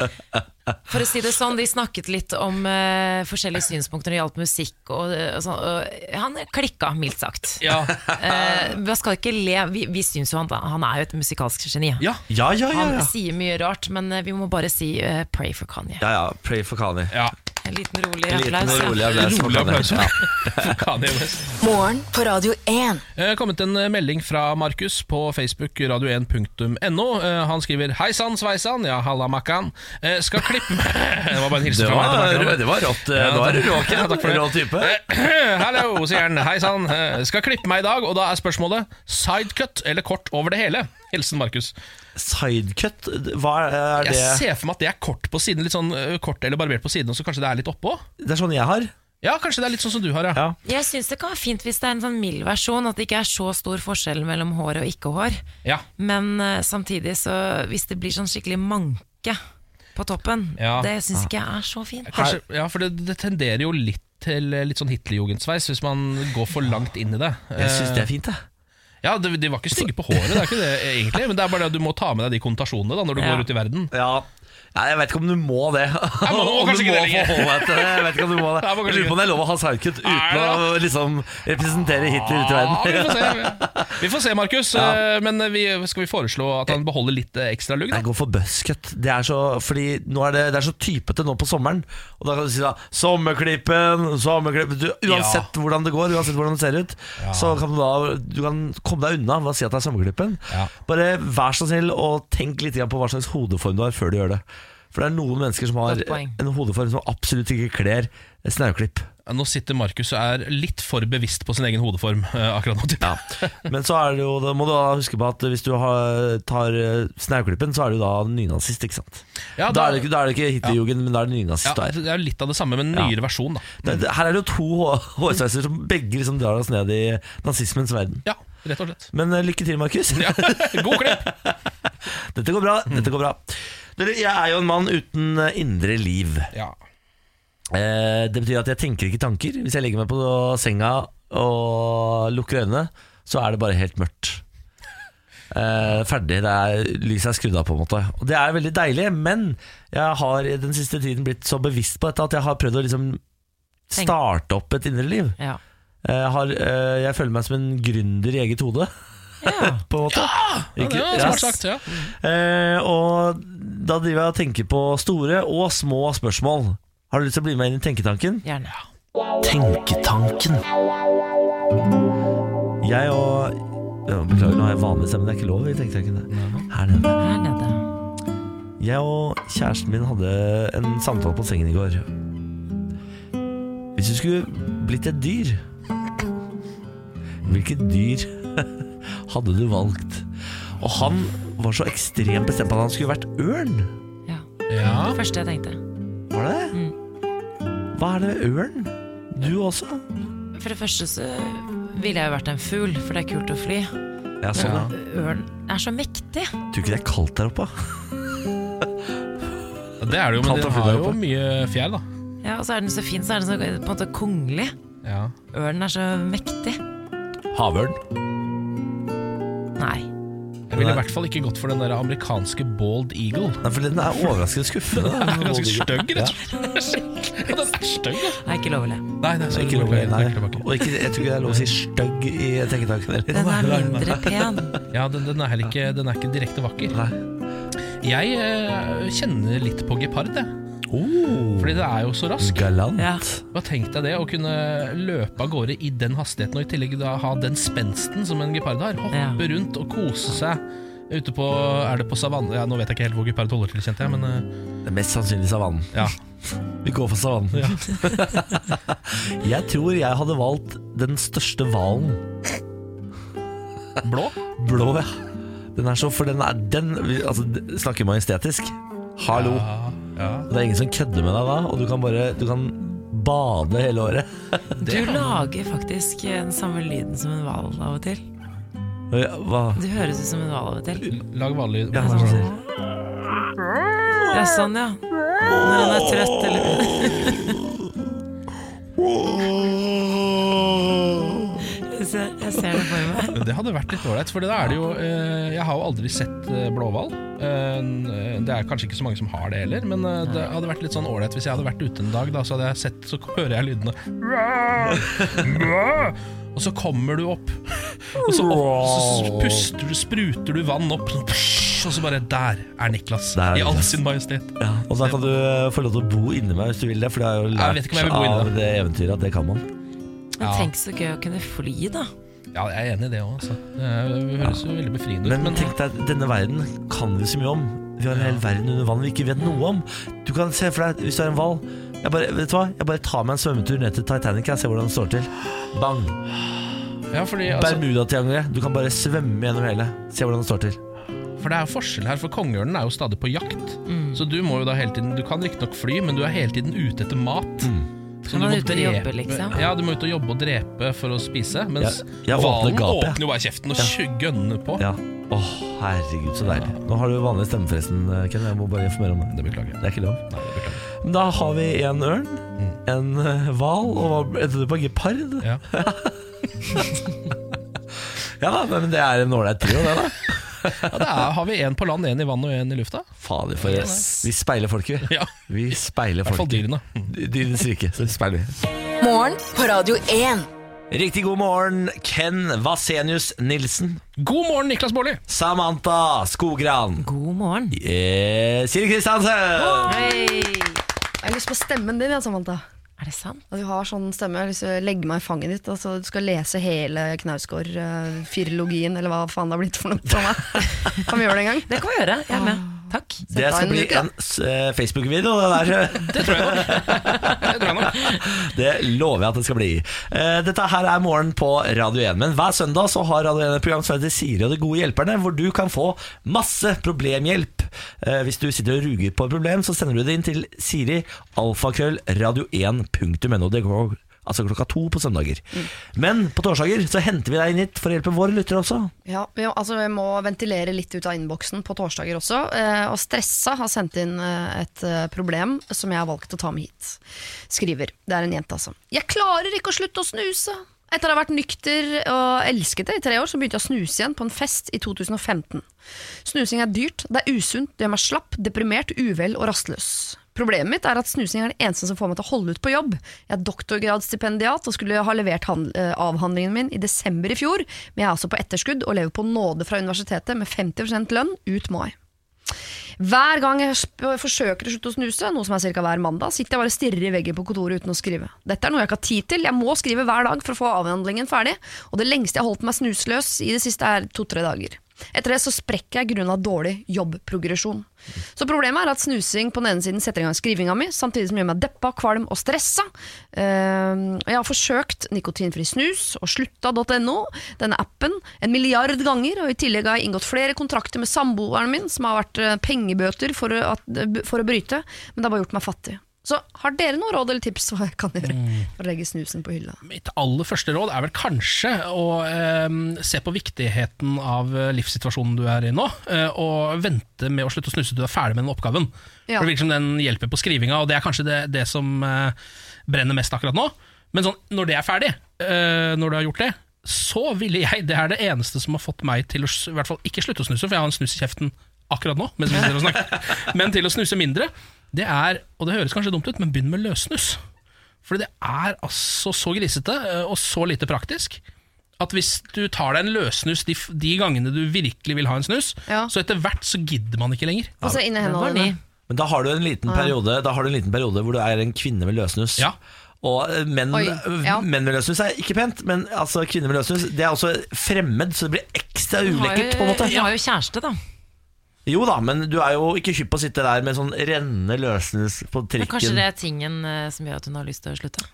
For å si det sånn, De snakket litt om eh, forskjellige synspunkter når det gjaldt musikk. Og, eh, og sånn, og han klikka, mildt sagt.
Ja,
Eh, man skal ikke le. Vi, vi syns jo han, han er jo et musikalsk geni.
ja,
Ja, ja, ja.
Han
ja.
sier mye rart, men eh, vi må bare si eh, pray for Kanye.
Ja, ja, Pray for Kani.
ja. [laughs]
En liten rolig
En liten
applaus.
og rolig
ja.
applaus for
Rolig applaus
Kani.
for for Kanye West.
Morgen på Radio 1.
Eh, kommet en eh, melding fra Markus på Facebook radio1.no. Eh, han skriver 'Hei sann, sveisann, ja halla makkan'. Eh, skal klippe [laughs] Det var bare en hilsen
Det
fra meg.
var,
til Makkan.
det var rått. eh,
Ja,
Nå er du
takk.
råken.
Ja, takk for det.
Rå type.
[clears throat] Hallo, sier han. Hei sann. Eh, Skal klippe meg i dag, og da er spørsmålet sidecut eller kort over det hele? Hilsen Markus.
Eh, Sidecut, hva er- er
Jeg
det?
ser for meg at det er kort på siden, litt sånn eh, kort eller barbert på siden, og så kanskje det er litt oppå?
Det er sånn jeg har.
Ja, kanskje det er litt sånn som du har, ja.
Ja.
Jeg syns det kan være fint hvis det er en sånn mild versjon, at det ikke er så stor forskjell mellom hår og ikke hår.
Ja,
Men eh, samtidig så Hvis det blir sånn skikkelig manke på toppen,
Ja.
det syns ikke jeg er så fint.
kanskje, ja for det, det tenderer jo litt til eh, litt sånn Hitlerjugendsveis, hvis man går for langt inn i det.
Jeg syns det
Eh,
er fint, jeg.
Ja, de, de var ikke stygge på håret, det er ikke det eh, egentlig, men det er bare det at du må ta med deg de konnotasjonene da, når du
Ja.
går ut i verden.
Ja. Nei, jeg vet ikke om du må det.
må- må
[laughs] om du må
kanskje ikke det lenger.
forholde deg til det. Jeg vet ikke om du må det.
Nei, må kanskje
Jeg lurer på om det er lov å ha sidecut uten å
Er
liksom representere Hitler ute i
Ja, vi
verden.
får se, vi får se Markus.
Ja.
Eh, Men vi, skal vi foreslå at han beholder litt eh, ekstra lugg? da?
Jeg går for buzzcut. Det er så, fordi nå er det, det er så typete nå på sommeren. Og da kan du si da Sommerklippen, sommerklippen du, Uansett hvordan det går, uansett hvordan det ser ut, så kan du da Du kan komme deg unna ved å si at det er sommerklippen.
Ja.
Bare vær så snill og tenk litt grann på hva slags hodeform du har før du gjør det. For det er noen mennesker som har
Godt poeng.
en hodeform som absolutt ikke kler
[laughs]
snauklipp.
Nå sitter Markus og er litt for bevisst på sin egen hodeform eh, akkurat nå. Ja.
Men så er det jo, da må du da huske på at hvis du har, tar eh, snauklippen, så er du da nynazist, ikke sant? da,
Ja, da-
er det, ikke- da er det ikke Hitlerjugend, men da er det nynazist
Ja,
du er.
det er jo litt av det samme, men en
Ja.
nyere versjon. da
Det, det, her er det jo to hå- hårsveiser som begge liksom drar oss ned i nazismens verden.
Ja, rett og slett.
Men eh, lykke til, Markus.
Ja. God klipp!
Dette går bra. dette går bra Mm. Dere, Jeg er jo en mann uten eh, indre liv.
Ja.
Eh, det betyr at jeg tenker ikke tanker. Hvis jeg legger meg på senga og lukker øynene, så er det bare helt mørkt. Eh, ferdig. det er Lyset er skrudd av, på en måte. Og Det er veldig deilig, men jeg har i den siste tiden blitt så bevisst på dette at jeg har prøvd å liksom
Tenk.
starte opp et indre liv.
Ja.
eh, Jeg, har, eh, jeg føler meg som en gründer i eget hode.
Ja.
på en måte. [laughs]
Ja,
Ikke-
det var
Yes.
smart sagt, ja.
Eh, og da driver jeg og tenker på store og små spørsmål. Har du lyst til å bli med inn i tenketanken?
Gjerne.
Tenketanken. Jeg og ja, Beklager, nå har jeg vanlig stemme, det er ikke lov i tenketanken. det. Her nede.
Her nede.
Jeg og kjæresten min hadde en samtale på sengen i går. Hvis du skulle blitt et dyr, hvilket dyr [laughs] hadde du valgt? Og han var så ekstremt bestemt på at han skulle vært ørn.
Ja.
ja.
Det første jeg tenkte.
Var det det? Hva er det med ørn? Du også?
For det første så ville jeg jo vært en fugl, for det er kult å fly.
Ja, sånn, ja.
Ørn er så mektig.
Tror ikke det er kaldt der oppe?
Det er det jo, men
Kaldt
den
og fint
har
der
jo
oppe.
mye fjær, da.
Ja, Og så er den så fin, så er den så på en måte kongelig.
Ja.
Ørnen er så mektig.
Havørn.
Nei.
Jeg ville i hvert fall ikke gått for den der amerikanske bald eagle.
Nei, for den er overraskende skuffende.
Den er ganske stygg, rett og slett. Ja, Den er stygg, da.
Det er ikke lov å le.
Nei, nei,
Ja.
sorry,
Ikke lov å
beklager,
nei.
jeg tar tilbake.
Og ikke, jeg tror ikke det er lov å si stygg i tenketanken heller.
Den er
Nei, nei,
mindre pen.
[laughs] Ja, den, den, er heller ikke, den er ikke direkte vakker.
Nei.
Jeg eh, kjenner litt på gepard, jeg.
Oh,
Fordi det er jo så rask.
galant.
Ja.
Hva tenkte jeg det, å kunne løpe av gårde i den hastigheten, og i tillegg da ha den spensten som en gepard har. Hoppe
Ja.
rundt og kose seg ute på Er det på savannen? Ja, nå vet jeg ikke helt hvor gepard holder til, kjente jeg, men eh,
Det er mest sannsynlig savannen.
ja.
Vi går for savannen. [laughs] jeg tror jeg hadde valgt den største hvalen.
Blå?
Blå, ja. Den er så, for den er den altså, d- Snakker majestetisk. Hallo.
Ja, ja.
Det er ingen som kødder med deg da, og du kan bare du kan bade hele året.
Du lager faktisk eh, den samme lyden som en hval av og til.
Og jeg- Hva?
Du høres ut som en hval av og til.
Lag vanlig
Ja, hva skjer?
Det er sånn, ja. Når han er trøtt eller Jeg ser, jeg ser det for meg.
Det hadde vært litt ålreit, for da er det jo eh, Jeg har jo aldri sett eh, blåhval. Eh, det er kanskje ikke så mange som har det heller, men eh, det hadde vært litt sånn ålreit hvis jeg hadde vært ute en dag, da, så hadde jeg sett Så hører jeg lydene [laughs] Og så kommer du opp, og så, opp, så puster du, spruter du vann opp, sånn, og så bare Der er Niklas,
Der er
i all
Niklas.
sin majestet.
Ja, og da kan du eh, få lov til å bo inni meg hvis du vil det, for det er jo
Jeg
lært
vet ikke om jeg vil bo inni
av
deg.
det eventyret at det kan man.
Men
Ja.
tenk så gøy å kunne fly, da.
Ja, jeg er enig i det òg, altså. Det er- det høres jo veldig befriende ut.
Men, men tenk deg, denne verden kan vi så mye om. Vi har en hel verden under vann vi ikke vet noe om. Du kan se for deg, hvis du er en hval jeg bare, Vet du hva, jeg bare tar meg en svømmetur ned til Titanic og ser hvordan det står til. Bang!
ja, fordi, altså,
Bermudatriangelet. Du kan bare svømme gjennom hele. Se hvordan det står til.
For det er jo forskjell her, for kongeørnen er jo stadig på jakt. Så du må jo da hele tiden Du kan riktignok fly, men du er hele tiden ute etter mat. Så
Men
du
han
må
er ute og
drepe-
jobber, liksom.
Ja, du må ut og jobbe og drepe for å spise. Mens
Jeg- jeg åpner
hvalen
gapet, jeg.
åpner jo bare kjeften og
Ja.
ja. gønner på.
Ja. Åh, herregud, så deilig. Nå har du vanlig stemme, forresten, Ken. Jeg må bare informere om det.
Det beklager jeg.
Det er ikke lov.
Nei, det beklager jeg.
Da har vi en ørn, en eh, hval og hva endte du på? Gepard?
Ja.
Ja da, men det er en ålreit trio, det, da.
Ja, det er, har vi én på land, én i vann og én i lufta?
Fader, for Vi speiler folket, vi.
Ja.
Vi speiler
I hvert fall
folket. [laughs]
dyrene.
Dyrenes rike. Så speiler vi.
Morgen på Radio 1.
Riktig god morgen, Ken Vasenius Nilsen.
God morgen, Niklas Baarli!
Samantha Skogran.
God morgen.
Eh, Siri Kristiansen!
Hei.
Jeg har lyst på stemmen din, ja, Samantha.
Er det sant?
At du har sånn stemme. Jeg har lyst til å legge meg i fanget ditt. Altså, du skal lese hele Knausgård-firologien, eller hva faen det har blitt for noe. Fra meg. Kan vi gjøre det en gang?
Det kan vi gjøre. Jeg er med. Takk.
Det skal bli en eh, Facebook-video, det der.
[laughs] Det tror jeg nok. Det tror jeg nok.
[laughs] Det lover jeg at det skal bli. Eh, dette her er morgen på Radio 1. Men hver søndag så har Radio 1 et program som heter Siri og de gode hjelperne, hvor du kan få masse problemhjelp. Eh, hvis du sitter og ruger på et problem, så sender du det inn til Siri alfakrøll radio1.no. Det går altså klokka to på søndager.
Mm.
Men på torsdager så henter vi deg inn hit for å hjelpe våre lyttere også.
Ja, vi, altså, vi må ventilere litt ut av innboksen på torsdager også. Eh, og Stressa har sendt inn eh, et eh, problem som jeg har valgt å ta med hit. Skriver. Det er en jente, altså. Jeg klarer ikke å slutte å snuse! Etter å ha vært nykter og elsket det i tre år, så begynte jeg å snuse igjen på en fest i 2015. Snusing er dyrt, det er usunt, det gjør meg slapp, deprimert, uvel og rastløs.
Problemet mitt er at snusing er det eneste som får meg til å holde ut på jobb. Jeg er doktorgradsstipendiat og skulle ha levert hand- eh, avhandlingen min i desember i fjor, men jeg er altså på etterskudd og lever på nåde fra universitetet med 50 lønn ut mai. Hver gang jeg sp- forsøker å slutte å snuse, noe som er cirka hver mandag, sitter jeg bare og stirrer i veggen på kontoret uten å skrive. Dette er noe jeg ikke har tid til, jeg må skrive hver dag for å få avhandlingen ferdig, og det lengste jeg har holdt meg snusløs i det siste er to-tre dager. Etter det så sprekker jeg grunnet dårlig jobbprogresjon. Så problemet er at snusing på den ene siden setter i gang skrivinga mi, samtidig som gjør meg deppa, kvalm og stressa. Ehm, og jeg har forsøkt nikotinfri snus og slutta.no, denne appen, en milliard ganger, og i tillegg har jeg inngått flere kontrakter med samboeren min, som har vært eh, pengebøter for, å- at, for å bryte, men det har bare gjort meg fattig. Så har dere noe råd eller tips hva jeg kan gjøre
Mm.
for å legge snusen på hylla?
Mitt aller første råd er vel kanskje å eh, se på viktigheten av eh, livssituasjonen du er i nå, eh, og vente med å slutte å snuse til du er ferdig med den oppgaven.
Ja.
For Det virker som den hjelper på skrivinga, og det er kanskje det, det som eh, brenner mest akkurat nå. Men sånn, når det er ferdig, eh, når du har gjort det, så ville jeg Det er det eneste som har fått meg til å s- i hvert fall ikke slutte å snuse, for jeg har en snus i kjeften akkurat nå, mens vi sitter og snakker, [laughs] men til å snuse mindre, det er, og det høres kanskje dumt ut, men begynn med løssnus. For det er altså så grisete eh, og så lite praktisk at hvis du tar deg en løssnus de, f- de gangene du virkelig vil ha en snus,
Ja.
så etter hvert så gidder man ikke lenger.
Og så inn
Den
i hendene
var ny.
dine.
Men da har du en liten
Ah.
periode Da har du en liten periode hvor du er en kvinne med løsnus
Ja.
Og eh, menn,
Oi, ja.
menn med løsnus er ikke pent Men altså, kvinner med løsnus Det er også fremmed Så det blir ekstra ulekkert på en måte
Hun har jo kjæreste, da.
Jo da, men du er jo ikke hypp på å sitte der Med sånn renne løsnus på
Men
trikken
kanskje det er tingen eh, som gjør at hun har lyst til å slutte?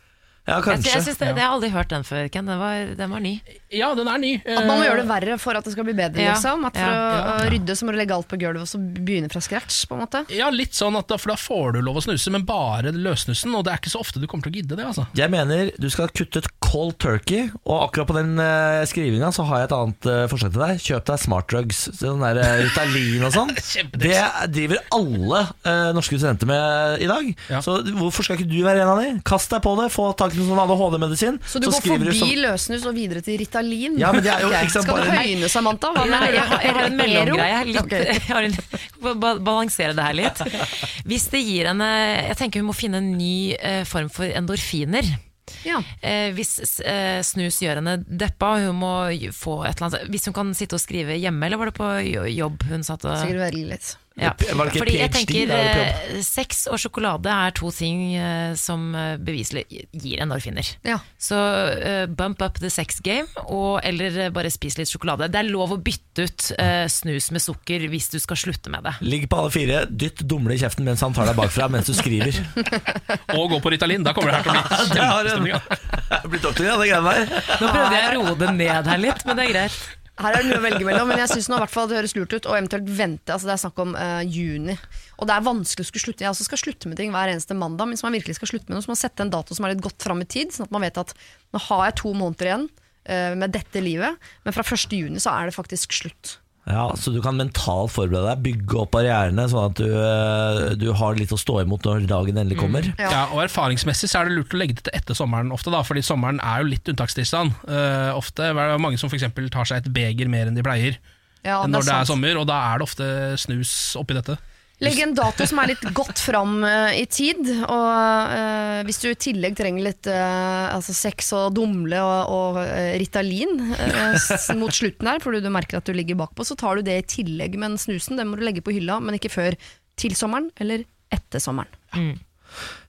Ja,
Jeg,
kanskje
jeg synes det, det har jeg aldri hørt den før, Ken. Den var, den var ny.
Ja, den er ny. Eh,
At man må gjøre det verre for at det skal bli bedre.
Ja.
Liksom. At for
Ja.
å å rydde så må du legge alt på gulvet og så begynne fra scratch. på en måte
Ja, litt sånn at da, For da får du lov å snuse, men bare løssnusen. Og det er ikke så ofte du kommer til å gidde det. altså
Jeg mener du skal kutte ut cold turkey, og akkurat på den uh, skrivinga så har jeg et annet eh, forslag til deg. Kjøp deg smart drugs, sånn der eh, Ritalin og
[laughs]
sånn.
Kjempetips.
Det driver alle eh, norske studenter med i dag.
Ja.
Så hvorfor skal ikke du være en av de? Kast deg på det, få tak i sånn ADHD-medisin.
Så du går forbi løssnus og videre til Ritalin?
sånn- Ja, men det er jo
Ok.
ikke sant,
Skal du
bare-
høyne, Samantha? Hva
Nei,
med
jeg har, jeg
[laughs]
har en mellomgreie. Jeg,
Ero?
har litt- [laughs] jeg har en, ba- ba- balansere det her litt. Hvis det gir henne Jeg tenker hun må finne en ny eh, form for endorfiner.
Ja.
Eh, hvis eh, snus gjør henne deppa, hun må jo få et eller annet Hvis hun kan sitte og skrive hjemme, eller var det på jo- jobb hun satt og
Sikkert veldig litt.
ja.
Var det ikke
Fordi jeg
PhD,
tenker
da er det
eh, sex og sjokolade er to ting eh, som eh, beviselig gir endorfiner.
Ja.
Så eh, bump up the sex game, og, eller eh, bare spis litt sjokolade. Det er lov å bytte ut eh, snus med sukker hvis du skal slutte med det.
Ligg på alle fire, dytt dumle i kjeften mens han tar deg bakfra mens du skriver.
Og gå på Ritalin. Da kommer det her
[laughs]
til å bli kjempestemning. [laughs] ja.
Blir doktor i [laughs] det greiene der.
Nå prøvde jeg å roe det ned her litt, men det er greit.
Her er det noe å velge mellom, men jeg syns det høres lurt ut. Og eventuelt vente. Altså, det er snakk om eh, juni. Og det er vanskelig å skulle slutte. Jeg også skal slutte med ting hver eneste mandag, men hvis man virkelig skal slutte med noe, så må man sette en dato som er litt godt fram i tid, sånn at man vet at nå har jeg to måneder igjen eh, med dette livet, men fra 1. juni så er det faktisk slutt.
Ja, Så du kan mentalt forberede deg, bygge opp barrierene, sånn at du, eh, du har litt å stå imot når dagen endelig
Mm.
kommer.
Ja.
Ja, og Erfaringsmessig så er det lurt å legge det til etter sommeren, ofte da, fordi sommeren er jo litt unntakstilstand. Eh, ofte er det mange som for eksempel tar seg et beger mer enn de pleier
Ja,
når det er
sant.
sommer, og da er det ofte snus oppi dette.
Legg en dato som er litt godt fram eh, i tid. Og eh, hvis du i tillegg trenger litt eh, altså sex og dumle og, og eh, Ritalin eh, s- mot slutten her, fordi du merker at du ligger bakpå, så tar du det i tillegg. Men snusen den må du legge på hylla, men ikke før til sommeren eller etter sommeren.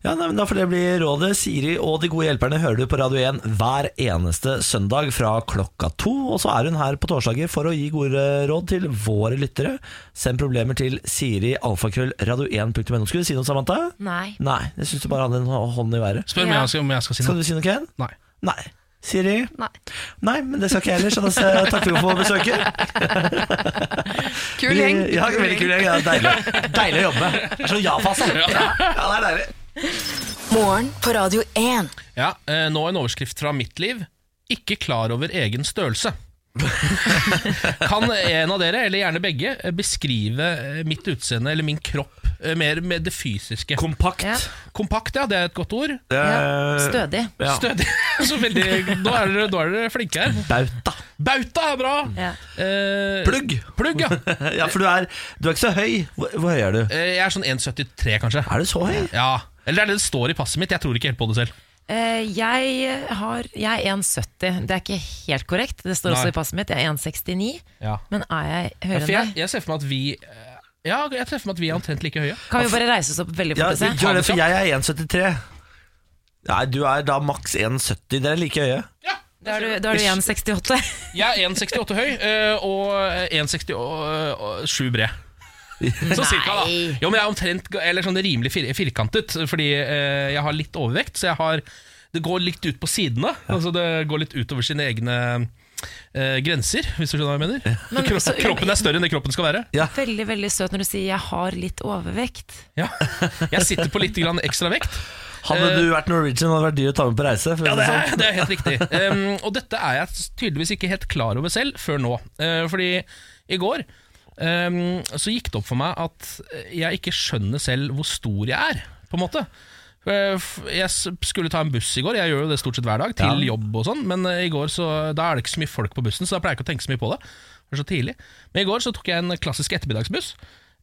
Ja, nei, men Da får det bli rådet. Siri og de gode hjelperne hører du på Radio 1 hver eneste søndag fra klokka to. Og så er hun her på torsdager for å gi gode råd til våre lyttere. Send problemer til Siri alfakrøll radio1.no. Skulle du si noe, Samantha?
Nei.
Nei, jeg syns du bare hadde en hå- hånd i været.
Ja.
Spør meg om jeg skal- om jeg skal si
Skal [laughs] du
noe.
si noe, Ken?
Nei.
Nei. Siri?
Nei.
Nei, men det skal ikke jeg heller, så da s- takker vi for besøket.
Kul gjeng.
Ja, veldig kul gjeng. Ja, deilig. deilig å jobbe med. Det er så ja-fast, da. Ja, ja, det er deilig.
Morgen på Radio 1.
Ja, eh, nå en overskrift fra mitt liv. Ikke klar over egen størrelse. [laughs] kan en av dere, eller gjerne begge, eh, beskrive eh, mitt utseende eller min kropp eh, mer med det fysiske?
Kompakt.
Ja.
Kompakt, ja, det er et godt ord.
Eh,
Stødig.
Ja.
[laughs] Stødig. Så veldig, da er dere, da er dere flinke her.
Bauta. [laughs]
Bauta er bra!
Ja.
Eh,
Plugg.
Plugg, ja.
ja, for du er, du er ikke så høy. Hvor, hvor høy er du?
Eh, Jeg er sånn 1,73, kanskje.
Er du så høy?
Ja. Eller det er det det står i passet mitt. Jeg tror ikke helt på det selv.
Eh, jeg, har, jeg er 1,70. Det er ikke helt korrekt. Det står
Nei.
også i passet mitt. Jeg er 1,69.
Ja.
Men er jeg
Ja,
høyere
for
enn
jeg,
deg?
jeg ser for meg at vi eh, Ja, jeg ser for meg at vi er omtrent like høye.
Kan vi bare reise oss opp veldig
Ja,
fort og se?
gjør det, for jeg er 1,73. Nei, du er da maks 1,70. Dere er like høye.
Ja,
Da er du, da er du 1,68.
Jeg er 1,68 høy eh, og 1,67 bred. Så cirka, da.
Nei.
Jo, men jeg er omtrent eller sånn rimelig fir firkantet, fordi eh, jeg har litt overvekt. Så jeg har Det går litt ut på sidene. Altså Det går litt utover sine egne eh, grenser, hvis du skjønner hva jeg mener.
Men
Kro
så-
kroppen er større enn det kroppen skal være.
[laughs] Veldig veldig søt når du sier 'jeg har litt overvekt'.
Ja. Jeg sitter på litt grann ekstra vekt.
Hadde
Eh,
du vært Norwegian, hadde det vært dyr å ta med på reise. For å
Ja,
si
det
sånn.
er, det er helt riktig. Um, og dette er jeg tydeligvis ikke helt klar over selv før nå. Eh, fordi i går um, så gikk det opp for meg at jeg ikke skjønner selv hvor stor jeg er, på en måte. Eh, f- Jeg s- skulle ta en buss i går, jeg gjør jo det stort sett hver dag, til jobb og sånn, men eh, i går så, da er det ikke så mye folk på bussen, så da pleier jeg ikke å tenke så mye på det. Det er så tidlig. Men i går så tok jeg en klassisk ettermiddagsbuss,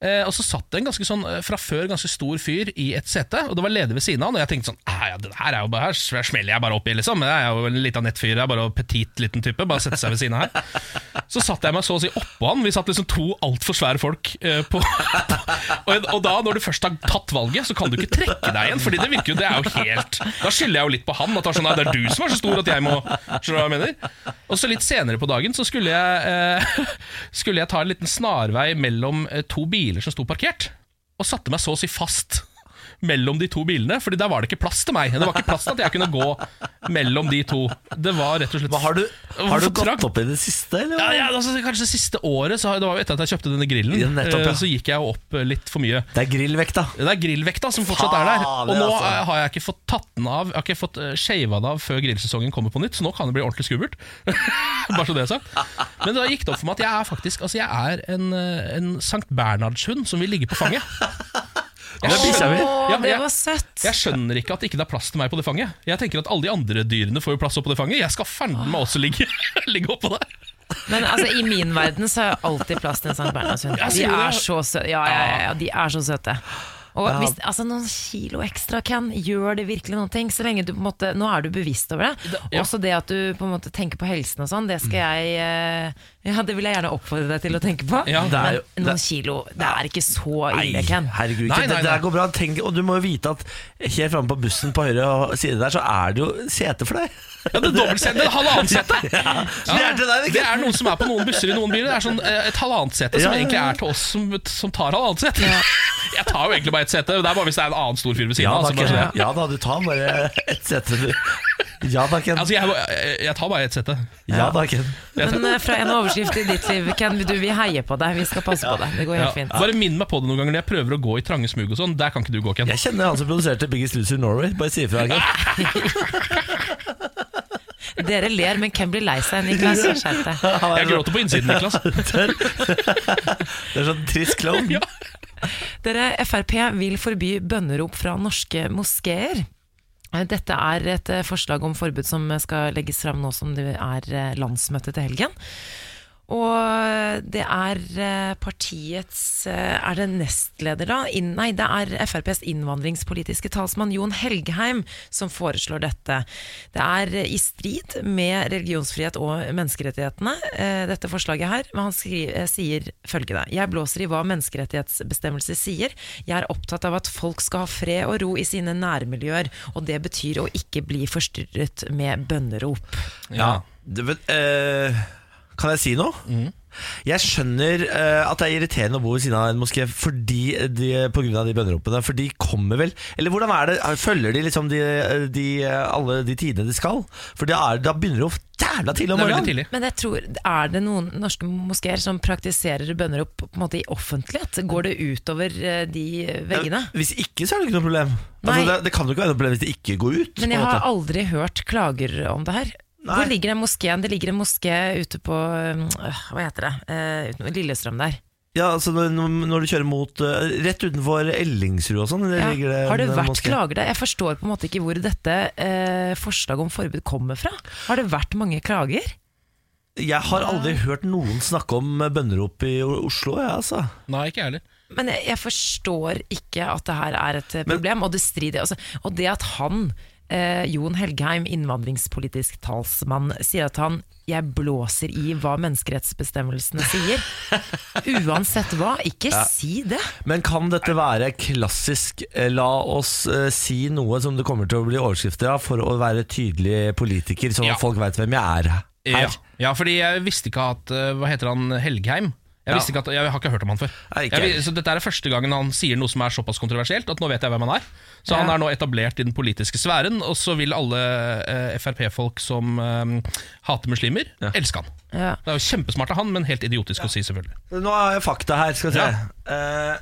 eh, og så satt det en ganske sånn, eh, fra før ganske stor fyr i et sete, og det var ledig ved siden av han, og jeg tenkte sånn, «Ah, ja, det her er jo bare, her sv- smeller jeg bare opp i, liksom, jeg er jo en liten nettfyr, jeg er bare en petit liten type, bare sette seg ved siden av her. Så satt jeg meg så å si oppå han, vi satt liksom to altfor svære folk eh, på, [laughs] og, og da, når du først har tatt valget, så kan du ikke trekke deg igjen, fordi det virker jo, det er jo helt, da skylder jeg jo litt på han, at det er sånn, «Nei, det er du som er så stor at jeg må, skjønner du hva jeg mener? Og så litt senere på dagen så skulle jeg, eh, [laughs] skulle jeg ta en liten snarvei mellom eh, to biler som sto parkert, og satte meg så å si fast mellom de to bilene, fordi der var det ikke plass til meg. Det var ikke plass til at jeg kunne gå mellom de to. Det var rett og slett
Men har du, har du
for trangt.
gått opp i det siste, eller?
Ja, ja, altså, kanskje det siste året, så har, det var jo etter at jeg kjøpte denne grillen,
Ja, nettopp, ja.
eh, så gikk jeg jo opp eh, litt for mye.
Det er grillvekta.
Det er grillvekta som fortsatt er der. Og
Fader,
nå
altså.
eh, har jeg ikke fått tatt den av Jeg har ikke fått eh, shava det av før grillsesongen kommer på nytt, så nå kan det bli ordentlig skummelt. [laughs] Bare så det er sagt. Men da gikk det opp for meg at jeg er faktisk Altså jeg er en, eh, en Sankt Bernhardshund som vil ligge på
[laughs]
fanget. Jeg
Det er bikkja mi.
skjønner-
Å,
Ja,
det
jeg-
var søtt!
jeg skjønner ikke at det ikke er plass til meg på det fanget. Jeg tenker at Alle de andre dyrene får jo plass oppå det fanget. Jeg skal fanden meg også ligge, [laughs] ligge oppå der.
Men altså, i min verden så er det alltid plass til en Sankt Bernhardshund.
Ja,
De
sier du
er
det?
så søte. Ja, ja, ja, ja, de er så søte. Og hvis, altså Noen kilo ekstra kan gjør det virkelig noen ting. Så lenge du på en måte, Nå er du bevisst over det.
ja.
Også det at du på en måte tenker på helsen og sånn, det skal jeg eh, [laughs] Ja, det vil jeg gjerne oppfordre deg til å tenke på.
Ja, det er
jo-
Men noen kilo, det er ikke så ille, Ken.
herregud, ikke.
Nei, nei,
det der
nei.
går bra. Tenk, og du må jo vite at helt framme på bussen på høyre side der, så er det jo sete for deg.
Ja, det er dobbeltsete, det er
[laughs]
halvannet sete.
Så det er til deg,
det
ikke?
er noen som er på noen busser i noen biler. Det er sånn, eh, et halvannet sete
Ja,
som
ja,
egentlig
ja.
er til oss som, som tar halvannet sete. [laughs] Jeg tar jo egentlig bare ett sete, det er bare hvis det er en annen stor fyr ved siden
Ja, da,
av. altså, bare så
Ken.
det.
ja da, du tar bare et sete. du. Ja da, Ken.
Altså, jeg, jeg- jeg tar bare ett sete.
Ja da, Ken.
Men eh, fra en overskrift i ditt liv, Ken, du, vi heier på deg. Vi skal passe på deg. Det går
Ja.
helt fint.
Bare minn meg på det noen ganger når jeg prøver å gå i trange smug og sånn. Der kan ikke du gå, Ken.
Jeg kjenner han som produserte Biggest Loser Norway. Bare si ifra, Ken.
Ah,
Dere ler, men Ken blir lei seg. Niklas, skjerp deg.
Han er
Jeg gråter på
[laughs]
innsiden, Niklas.
tørr. Det er sånn trist klovn.
[laughs] Ja.
Dere, Frp vil forby bønnerop fra norske moskeer. Dette er et eh, forslag om forbud som skal legges fram nå som det er eh, landsmøte til helgen. Og det er eh, partiets eh, Er det nestleder, da? Inn- Nei, det er FrPs innvandringspolitiske talsmann Jon Helgheim som foreslår dette. Det er eh, i strid med religionsfrihet og menneskerettighetene, eh, dette forslaget her. Men han skri eh, sier følgende Jeg blåser i hva menneskerettighetsbestemmelser sier. Jeg er opptatt av at folk skal ha fred og ro i sine nærmiljøer, og det betyr å ikke bli forstyrret med bønnerop.
Ja. Det, men, eh, kan jeg si noe?
Mm.
Jeg skjønner eh, at det er irriterende å bo ved siden av en moské fordi de, på grunn av de bønneropene. For de kommer vel Eller hvordan er det? Følger de liksom de, de, eh, alle de tidene de skal? For da er, da begynner det jo jævla tidlig om
Det er veldig
morgenen.
tidlig.
Men jeg tror, er det noen norske moskeer som praktiserer bønnerop på en måte i offentlighet? Går det utover eh, de veggene?
Hvis ikke, så er det ikke noe problem. Altså,
Nei.
det, det kan jo ikke være noe problem hvis det ikke går ut. på
Men jeg
en
har
måte.
aldri hørt klager om det her.
Nei.
Hvor ligger den moskeen? Det ligger en moské ute på øh, Hva heter det? Eh, utenom Lillestrøm der.
ja, altså, når, når du kjører mot eh, Rett utenfor Ellingsrud og sånn. der
Ja.
ligger
Har det
en
vært
moské.
klager der? Jeg forstår på en måte ikke hvor dette eh, forslaget om forbud kommer fra. Har det vært mange klager?
Jeg har aldri hørt noen snakke om bønnerop i Oslo, jeg, altså.
Nei, ikke jeg heller.
Men jeg, jeg forstår ikke at det her er et eh, problem, og det strider altså, Og det at han, eh, Jon Helgheim, innvandringspolitisk talsmann, sier at han jeg blåser i hva menneskerettsbestemmelsene sier. Uansett hva,
[laughs]
ikke si det!
Men kan dette være klassisk eh, La oss eh, si noe som det kommer til å bli overskrifter av, for å være tydelig politiker, sånn
Ja.
at folk veit hvem jeg er her?
Ja. ja, fordi jeg visste ikke at eh, Hva heter han? Helgheim? Jeg,
Ja.
visste ikke at, jeg har ikke hørt om han før.
Nei, ikke
Jeg vi-
jeg.
så Dette er første gangen han sier noe som er såpass kontroversielt at nå vet jeg hvem han er. Så han er nå etablert i den politiske sfæren, og så vil alle eh, Frp-folk som eh, hater muslimer, elske han.
Ja.
Det er jo kjempesmart av han, men helt idiotisk å si, selvfølgelig.
Nå har jeg fakta her, skal vi se.
Ja.
Eh,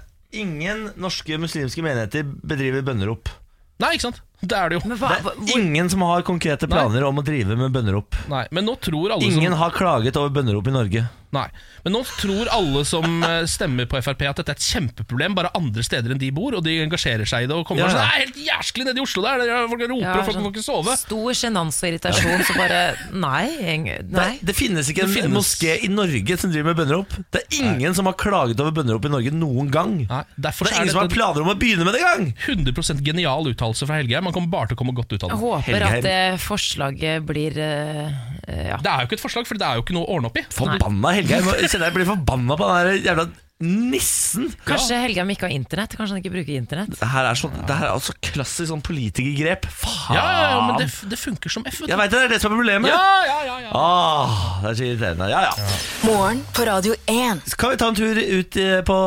ingen norske muslimske menigheter bedriver bønnerop.
Nei, ikke sant? Det er det jo.
Men hva, hva, hvor,
Ingen som har konkrete planer om å drive med bønnerop.
Nei, men nå tror alle
Ingen
som
har klaget over bønnerop i Norge.
Nei, men nå tror alle som eh, stemmer på Frp at dette er et kjempeproblem, bare andre steder enn de bor, og de engasjerer seg i det og kommer
Ja, ja.
bare sånn Det er helt jæsklig nede i Oslo der! der Folk roper,
Ja,
og folk
sånn.
får ikke sove.
stor sjenanse og irritasjon, så bare Nei. eng- nei.
Det finnes ikke en
Det finnes-
moské i Norge som driver med bønnerop. Det er ingen som har klaget over bønnerop i Norge noen gang.
Nei, derfor
Det er ingen som
så
har
er dette
planer om å begynne med det engang!
en 100 genial uttalelse fra Helgeheim. Man kommer bare til å komme godt ut av
Jeg
den.
håper
Helgheim.
at det forslaget blir eh, eh, Ja.
Det er jo ikke et forslag, for det er jo ikke noe å ordne opp i.
Forbanna Helgeheim. Jeg kjenner jeg blir forbanna på den der jævla nissen.
Kanskje Helgheim ikke har internett? Kanskje han ikke bruker internett?
Det her er, sånn, det her er altså klassisk sånn politikergrep. Faen!
Ja, ja, ja, men det, det funker som F. vet du.
Jeg veit det, det er det som er problemet.
Ja, ja, ja, ja.
Ah, det er så irriterende. Ja, ja.
Morgen på Radio 1.
Skal vi ta en tur ut eh, på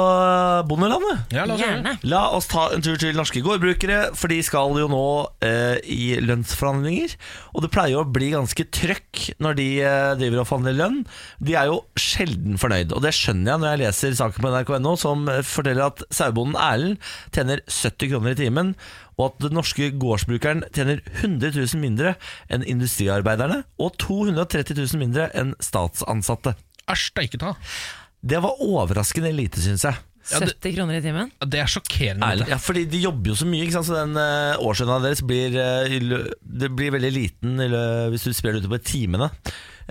bondelandet?
ja la oss gjøre det.
Gjerne.
La oss ta en tur til norske gårdbrukere, for de skal jo nå eh, i lønnsforhandlinger. Og det pleier jo å bli ganske trøkk når de eh, driver og forhandler lønn. De er jo sjelden fornøyd, og det skjønner jeg når jeg leser saken på nrk.no som eh, forteller at sauebonden Erlend tjener 70 kroner i timen, og at den norske gårdsbrukeren tjener 100 000 mindre enn industriarbeiderne, og 230 000 mindre enn statsansatte.
Æsj, det er ikke ta.
Det var overraskende lite, syns jeg.
70 kroner i timen?
Det er sjokkerende.
Ærlig.
dette.
Ja, fordi de jobber jo så mye, ikke sant? så den uh, årslønna deres blir, eh, i lø- det blir veldig liten i lø- hvis du spiller det utover timene.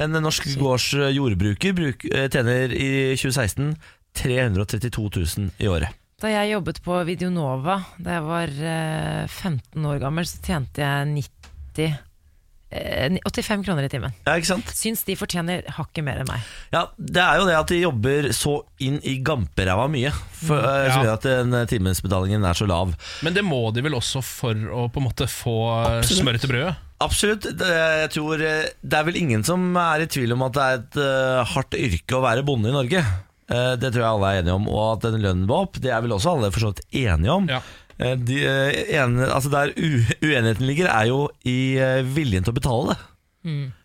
En norsk gårds eh, jordbruker bruk, eh, tjener i 2016 332 000 i året.
Da jeg jobbet på Videonova da jeg var eh, 15 år gammel, så tjente jeg 90 eh, 85 kroner i timen.
Ja, ikke sant?
Syns de fortjener hakket mer enn meg.
Ja, Det er jo det at de jobber så inn i gamperæva mye, for, eh, som
Ja.
gjør at den eh, timesbetalingen er så lav.
Men det må de vel også for å på en måte få eh,
Absolutt.
smør til brødet?
Absolutt. Det, jeg tror, eh, det er vel ingen som er i tvil om at det er et eh, hardt yrke å være bonde i Norge. Eh, det tror jeg alle er enige om. Og at den lønnen var opp, det er vel også alle for så vidt enige om.
Ja.
Eh, de, eh, ene, altså der u, uenigheten ligger, er jo i eh, viljen til å betale det.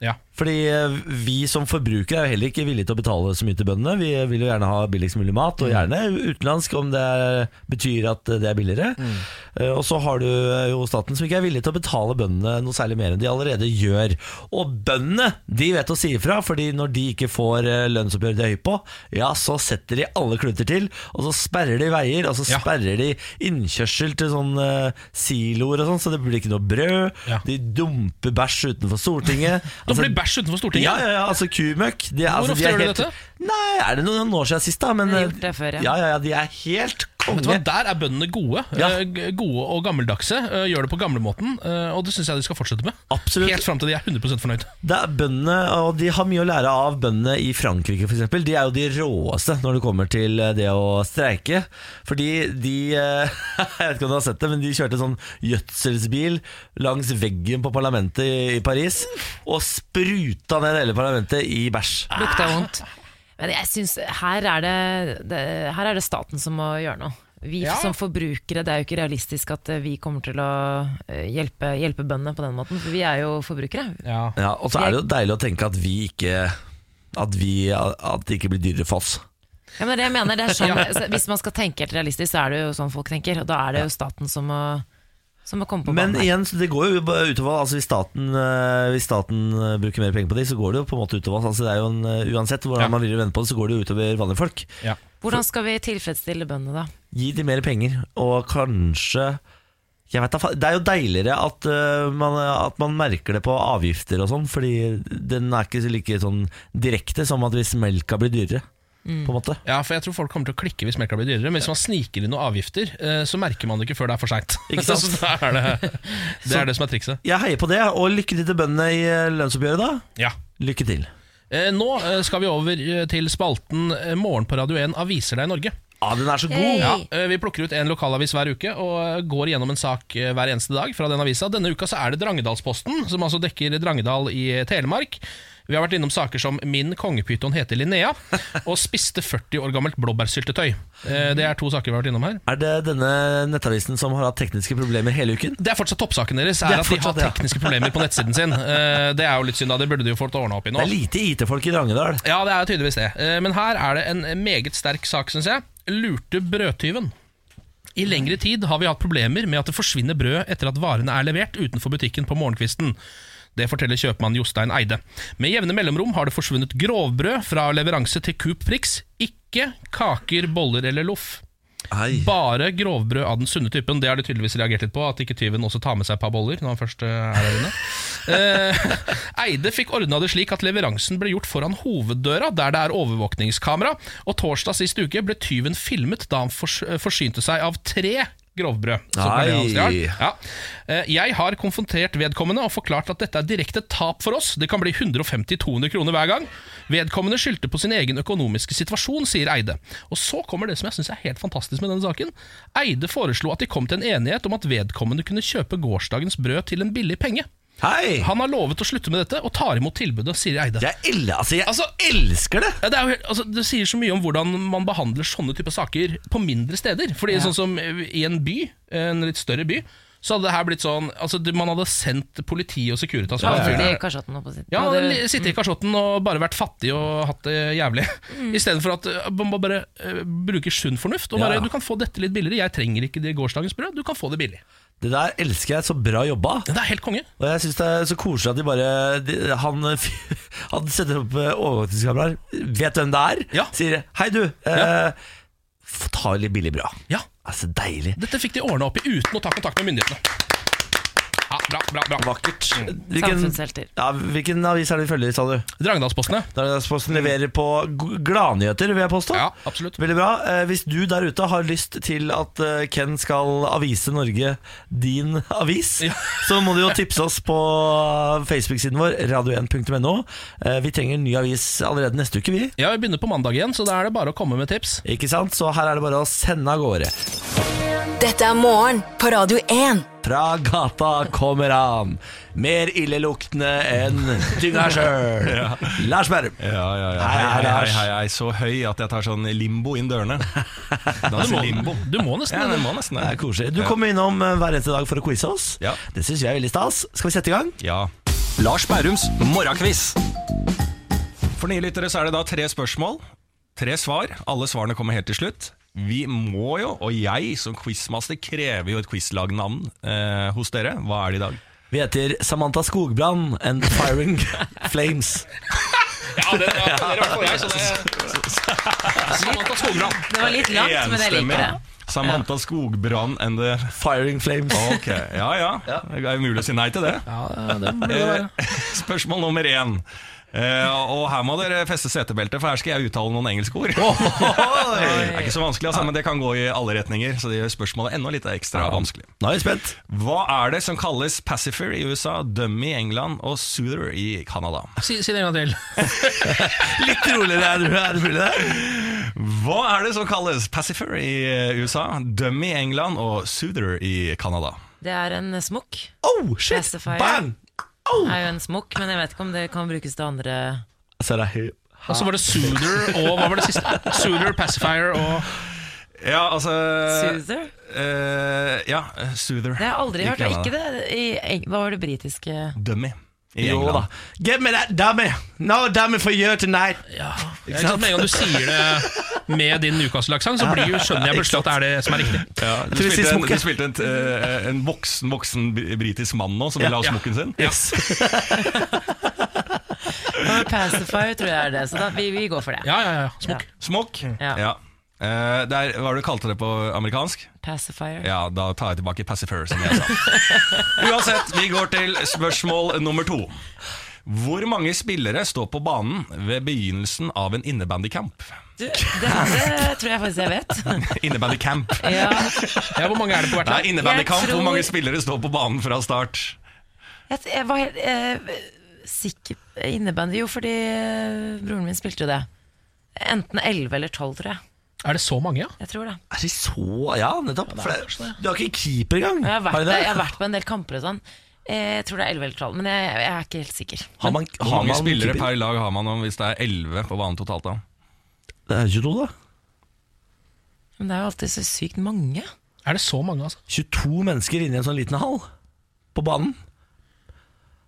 Ja.
Fordi eh, vi som forbrukere er jo heller ikke villige til å betale så mye til bøndene. Vi vil jo gjerne ha billigst mulig mat,
Mm.
og gjerne utenlandsk om det er, betyr at det er billigere.
Mm.
Eh, Og så har du eh, jo staten som ikke er villig til å betale bøndene noe særlig mer enn de allerede gjør. Og bøndene de vet å si ifra, fordi når de ikke får eh, lønnsoppgjøret de er høy på, ja, så setter de alle kluter til, og så sperrer de veier, og så
Ja.
sperrer de innkjørsel til sånne eh, siloer og sånn, så det blir ikke noe brød.
Ja.
De dumper bæsj utenfor
[laughs]
Stortinget.
De
Altså,
blir bæsj utenfor Stortinget.
ja, ja, ja, altså kumøkk de,
Hvor
altså,
ofte
er
gjør de
helt-
dette?
Nei, er det noen år siden sist da men, eh,
De har gjort det før, ja.
ja Ja, ja, de er helt
Vet du hva,
konge
Der er bøndene gode.
Ja.
Eh, g- Gode og gammeldagse. eh, Gjør det på gamlemåten, eh, og det syns jeg de skal fortsette med.
Absolutt.
Helt fram til de er 100 fornøyd.
Det er bøndene, og de har mye å lære av bøndene i Frankrike for eksempel De er jo de råeste når det kommer til eh, det å streike Fordi de, eh, [laughs] jeg vet ikke om du har sett det Men de kjørte sånn gjødselsbil langs veggen på parlamentet i- i Paris Og spruta ned hele parlamentet i bæsj
Lukta vondt. Men jeg syns her, er det, det, her er det staten som må gjøre noe. Vi
Ja.
som forbrukere, det er jo ikke realistisk at eh, vi kommer til å eh, hjelpe, hjelpe bøndene på den måten. For vi er jo forbrukere.
Ja.
Ja, og så er det jo deilig å tenke at vi ikke At, vi, at det ikke blir dyrere for oss
Ja, men det jeg mener, det er sånn, så Hvis man skal tenke helt realistisk, så er det jo sånn folk tenker. Og da er det jo staten som må, som må komme på
Men
banen. her.
igjen, så det går jo bare utover altså hvis, staten, eh, hvis staten eh, bruker mer penger på de, så går det jo på en måte utover oss. altså det er jo en, eh, Uansett hvordan
Ja.
man vil vende på det, så går det jo utover vanlige folk.
Ja.
Hvordan skal vi tilfredsstille bøndene, da?
Gi de mer penger, og kanskje Jeg vet, da fa- det er jo deiligere at, eh, man, at man merker det på avgifter og sånn, fordi den er ikke like sånn direkte som at hvis melka blir dyrere. På en måte.
Ja, for jeg tror folk kommer til å klikke hvis melka blir dyrere. Men hvis man sniker inn noen avgifter, eh, så merker man det ikke før det er for seint.
[laughs] Ikke sant?
[laughs] så da
[laughs]
er det, det er det som er trikset.
Jeg heier på det, og lykke til til bøndene i eh, lønnsoppgjøret, da.
Ja.
Lykke til.
Eh, Nå eh, skal vi over eh, til spalten eh, Morgen på Radio 1 aviser deg Norge.
Ja, den er så god!
Hey.
Ja, eh, Vi plukker ut en lokalavis hver uke og eh, går gjennom en sak eh, hver eneste dag fra den avisa. Denne uka så er det Drangedalsposten, som altså dekker Drangedal i eh, Telemark. Vi har vært innom saker som 'Min kongepyton heter
[laughs]
Linnea' og 'Spiste 40 år gammelt blåbærsyltetøy'. Eh, Det er to saker vi har vært innom her.
Er det denne nettavisen som har hatt tekniske problemer hele uken?
Det er fortsatt toppsaken deres,
Det er
er at de har
fortsatt, ja.
tekniske problemer på nettsiden sin. Eh, Det er jo litt synd, da. Det burde de jo fått ordna opp i nå.
Det er lite IT-folk i Drangedal.
Ja, det er tydeligvis det. Eh, Men her er det en meget sterk sak, syns jeg. Lurte brødtyven. I lengre tid har vi hatt problemer med at det forsvinner brød etter at varene er levert utenfor butikken på morgenkvisten. Det forteller kjøpmann Jostein Eide. Med jevne mellomrom har det forsvunnet grovbrød fra leveranse til Coop Prix. Ikke kaker, boller eller loff.
Nei.
Bare grovbrød av den sunne typen. Det har de tydeligvis reagert litt på. At ikke tyven også tar med seg et par boller når han først eh, er her inne. Eh, Eide fikk ordna det slik at leveransen ble gjort foran hoveddøra, der det er overvåkningskamera. Og torsdag sist uke ble tyven filmet da han fors eh, forsynte seg av tre grovbrød. som var det han stjal.
Nei.
Ja. Eh, Jeg har konfrontert vedkommende og forklart at dette er direkte tap for oss. Det kan bli 150-200 kroner hver gang. Vedkommende skyldte på sin egen økonomiske situasjon, sier Eide. Og så kommer det som jeg syns er helt fantastisk med denne saken. Eide foreslo at de kom til en enighet om at vedkommende kunne kjøpe gårsdagens brød til en billig penge.
Hei!
Han har lovet å slutte med dette, og tar imot tilbudet, sier Eide.
Jeg, el altså, jeg
Altså,
elsker det!
Ja, det, er jo helt, altså, det sier så mye om hvordan man behandler sånne typer saker på mindre steder. Fordi sånn som i en by, en litt større by, så hadde det her blitt sånn altså, det- Man hadde sendt politi og Securitas på den
Sitte i
fyren.
kasjotten og på sitt-
Ja,
og det-
li- Sitte i kasjotten og bare vært fattig og hatt det jævlig. Istedenfor at eh, man må bare eh, bruker sunn fornuft. Og
Ja.
bare, Du kan få dette litt billigere. Jeg trenger ikke det gårsdagens brød. Du kan få det billig.
Det der elsker jeg. Så bra jobba.
Det er helt konge.
Og jeg syns det er så koselig at de bare de, han, [laughs] han setter opp eh, overvåkningskameraer, vet hvem det er,
Ja.
sier 'hei, du', eh, få ta litt billig brød.
Ja,
Altså, deilig.
Dette fikk de ordna opp i uten å ta kontakt med myndighetene. Ja, bra, bra, Mm. bra.
Vakkert.
Samfunnshelter.
ja, hvilken avis er det vi følger, sa du?
Dragnadalspostene.
Dagsposten leverer på g- gladnyheter, vil jeg påstå.
Ja, absolutt.
Veldig bra. Eh, Hvis du der ute har lyst til at eh, Ken skal avise Norge din avis, [laughs] så må du jo tipse oss på Facebook-siden vår, radio1.no. Eh, Vi trenger en ny avis allerede neste uke, vi.
Ja, vi begynner på mandag igjen, så da er det bare å komme med tips.
Ikke sant? Så her er det bare å sende av gårde.
Dette er morgen på Radio 1.
Fra gata kommer han, mer illeluktende enn dynga sjøl.
[laughs]
Lars Berrum.
Ja, ja, ja.
Hei,
Hei, hei,
Lars.
hei, hei, hei. Så høy at jeg tar sånn limbo inn dørene.
Du
Danser
må,
limbo.
du må nesten
Ja,
det.
det må nesten
Det er
det.
koselig. Du kommer innom eh, hver eneste dag for å quize oss.
Ja.
Det syns jeg er veldig stas. Skal vi sette i gang?
Ja. Lars Bærums morgenkviss. For nye lyttere så er det da tre spørsmål, tre svar. Alle svarene kommer helt til slutt. Vi må jo, og jeg som quizmaster krever jo et quizlagnavn eh, hos dere. Hva er det i dag?
Vi heter Samantha Skogbrand and [laughs] Firing Flames.
Ja, det det appellerer i hvert fall jeg, så det
[laughs]
Samantha Skogran.
Det var litt langt, men jeg liker det.
Samantha Skogbrand and the
Firing Flames.
Ok, ja ja. Det er jo mulig å si nei til det. Eh, [laughs] Spørsmål nummer én. Eh, og her må dere feste setebeltet, for her skal jeg uttale noen engelske ord. det er ikke så vanskelig, altså, men det kan gå i alle retninger, så det gjør spørsmålet enda litt ekstra vanskelig.
Nå er vi spent.
Hva er det som kalles pacifer i USA, dummy i England og soother i Canada?
Si, si det en gang til.
Litt roligere er det- er det mulig, det.
Hva er det som kalles pacifer i eh, USA, dummy i England og soother i Canada?
Det er en smokk.
Oh, shit!
Pacifier.
Bang!
Det er jo en smokk, men jeg vet ikke om det kan brukes til andre
Så er det høy.
Og så var det Soother og hva var det siste? Soother, Pacifier og
Ja, altså
soother.
eh, ja, soother.
Det har jeg aldri
i
hørt. Er
Canada.
ikke det i Eng- Hva var det britiske
Dummy i
Jo
England.
da. Get me that dummy! No dummy for you tonight!
Ikke sant? Med en gang du sier det med din Newcastle-aksent, så blir jo, skjønner jeg plutselig at det er det som er riktig.
Ja, du,
tror vi
spilte
sier
en,
smokken.
du spilte en, eh, en voksen, voksen br- britisk mann nå som ville ha
Ja.
smokken sin. [laughs]
Yes.
Pacifier tror jeg er det, så da, vi, vi går for det.
Ja, ja, ja. Smokk.
Mm.
Smokk.
Ja.
Ja.
Eh, det er, hva var det du kalte det på amerikansk?
Pacifier.
Ja, da tar jeg tilbake pacifer, som jeg sa.
[laughs]
Uansett, vi går til spørsmål nummer to. Hvor mange spillere står på banen ved begynnelsen av
[laughs]
en innebandykamp?
Du, dette tror jeg faktisk jeg [laughs] vet.
Innebandycamp.
Ja.
Ja, hvor mange er det på hvert
Nei,
lag?
innebandykamp.
Jeg tror-
Hvor mange spillere står på banen fra start?
Jeg, jeg var helt eh, sikker Innebandy Jo, fordi eh, broren min spilte jo det. Enten 11 eller 12, tror jeg.
Er det så mange, ja?
Jeg tror det.
Er det så Ja, nettopp. For det, du har ikke keeper engang.
Jeg har
Har
vært,
du det?
jeg har vært på en del kamper og sånn. Eh, Jeg tror det er 11 eller 12, men jeg, jeg er ikke helt sikker.
Har man,
Hvor
har
mange
man
spillere
keeper?
per lag har man om hvis det er 11 på banen totalt? da?
Det er 22, da.
Men det er jo alltid så sykt mange.
Er det så mange, altså?
22 mennesker inni en sånn liten hall på banen.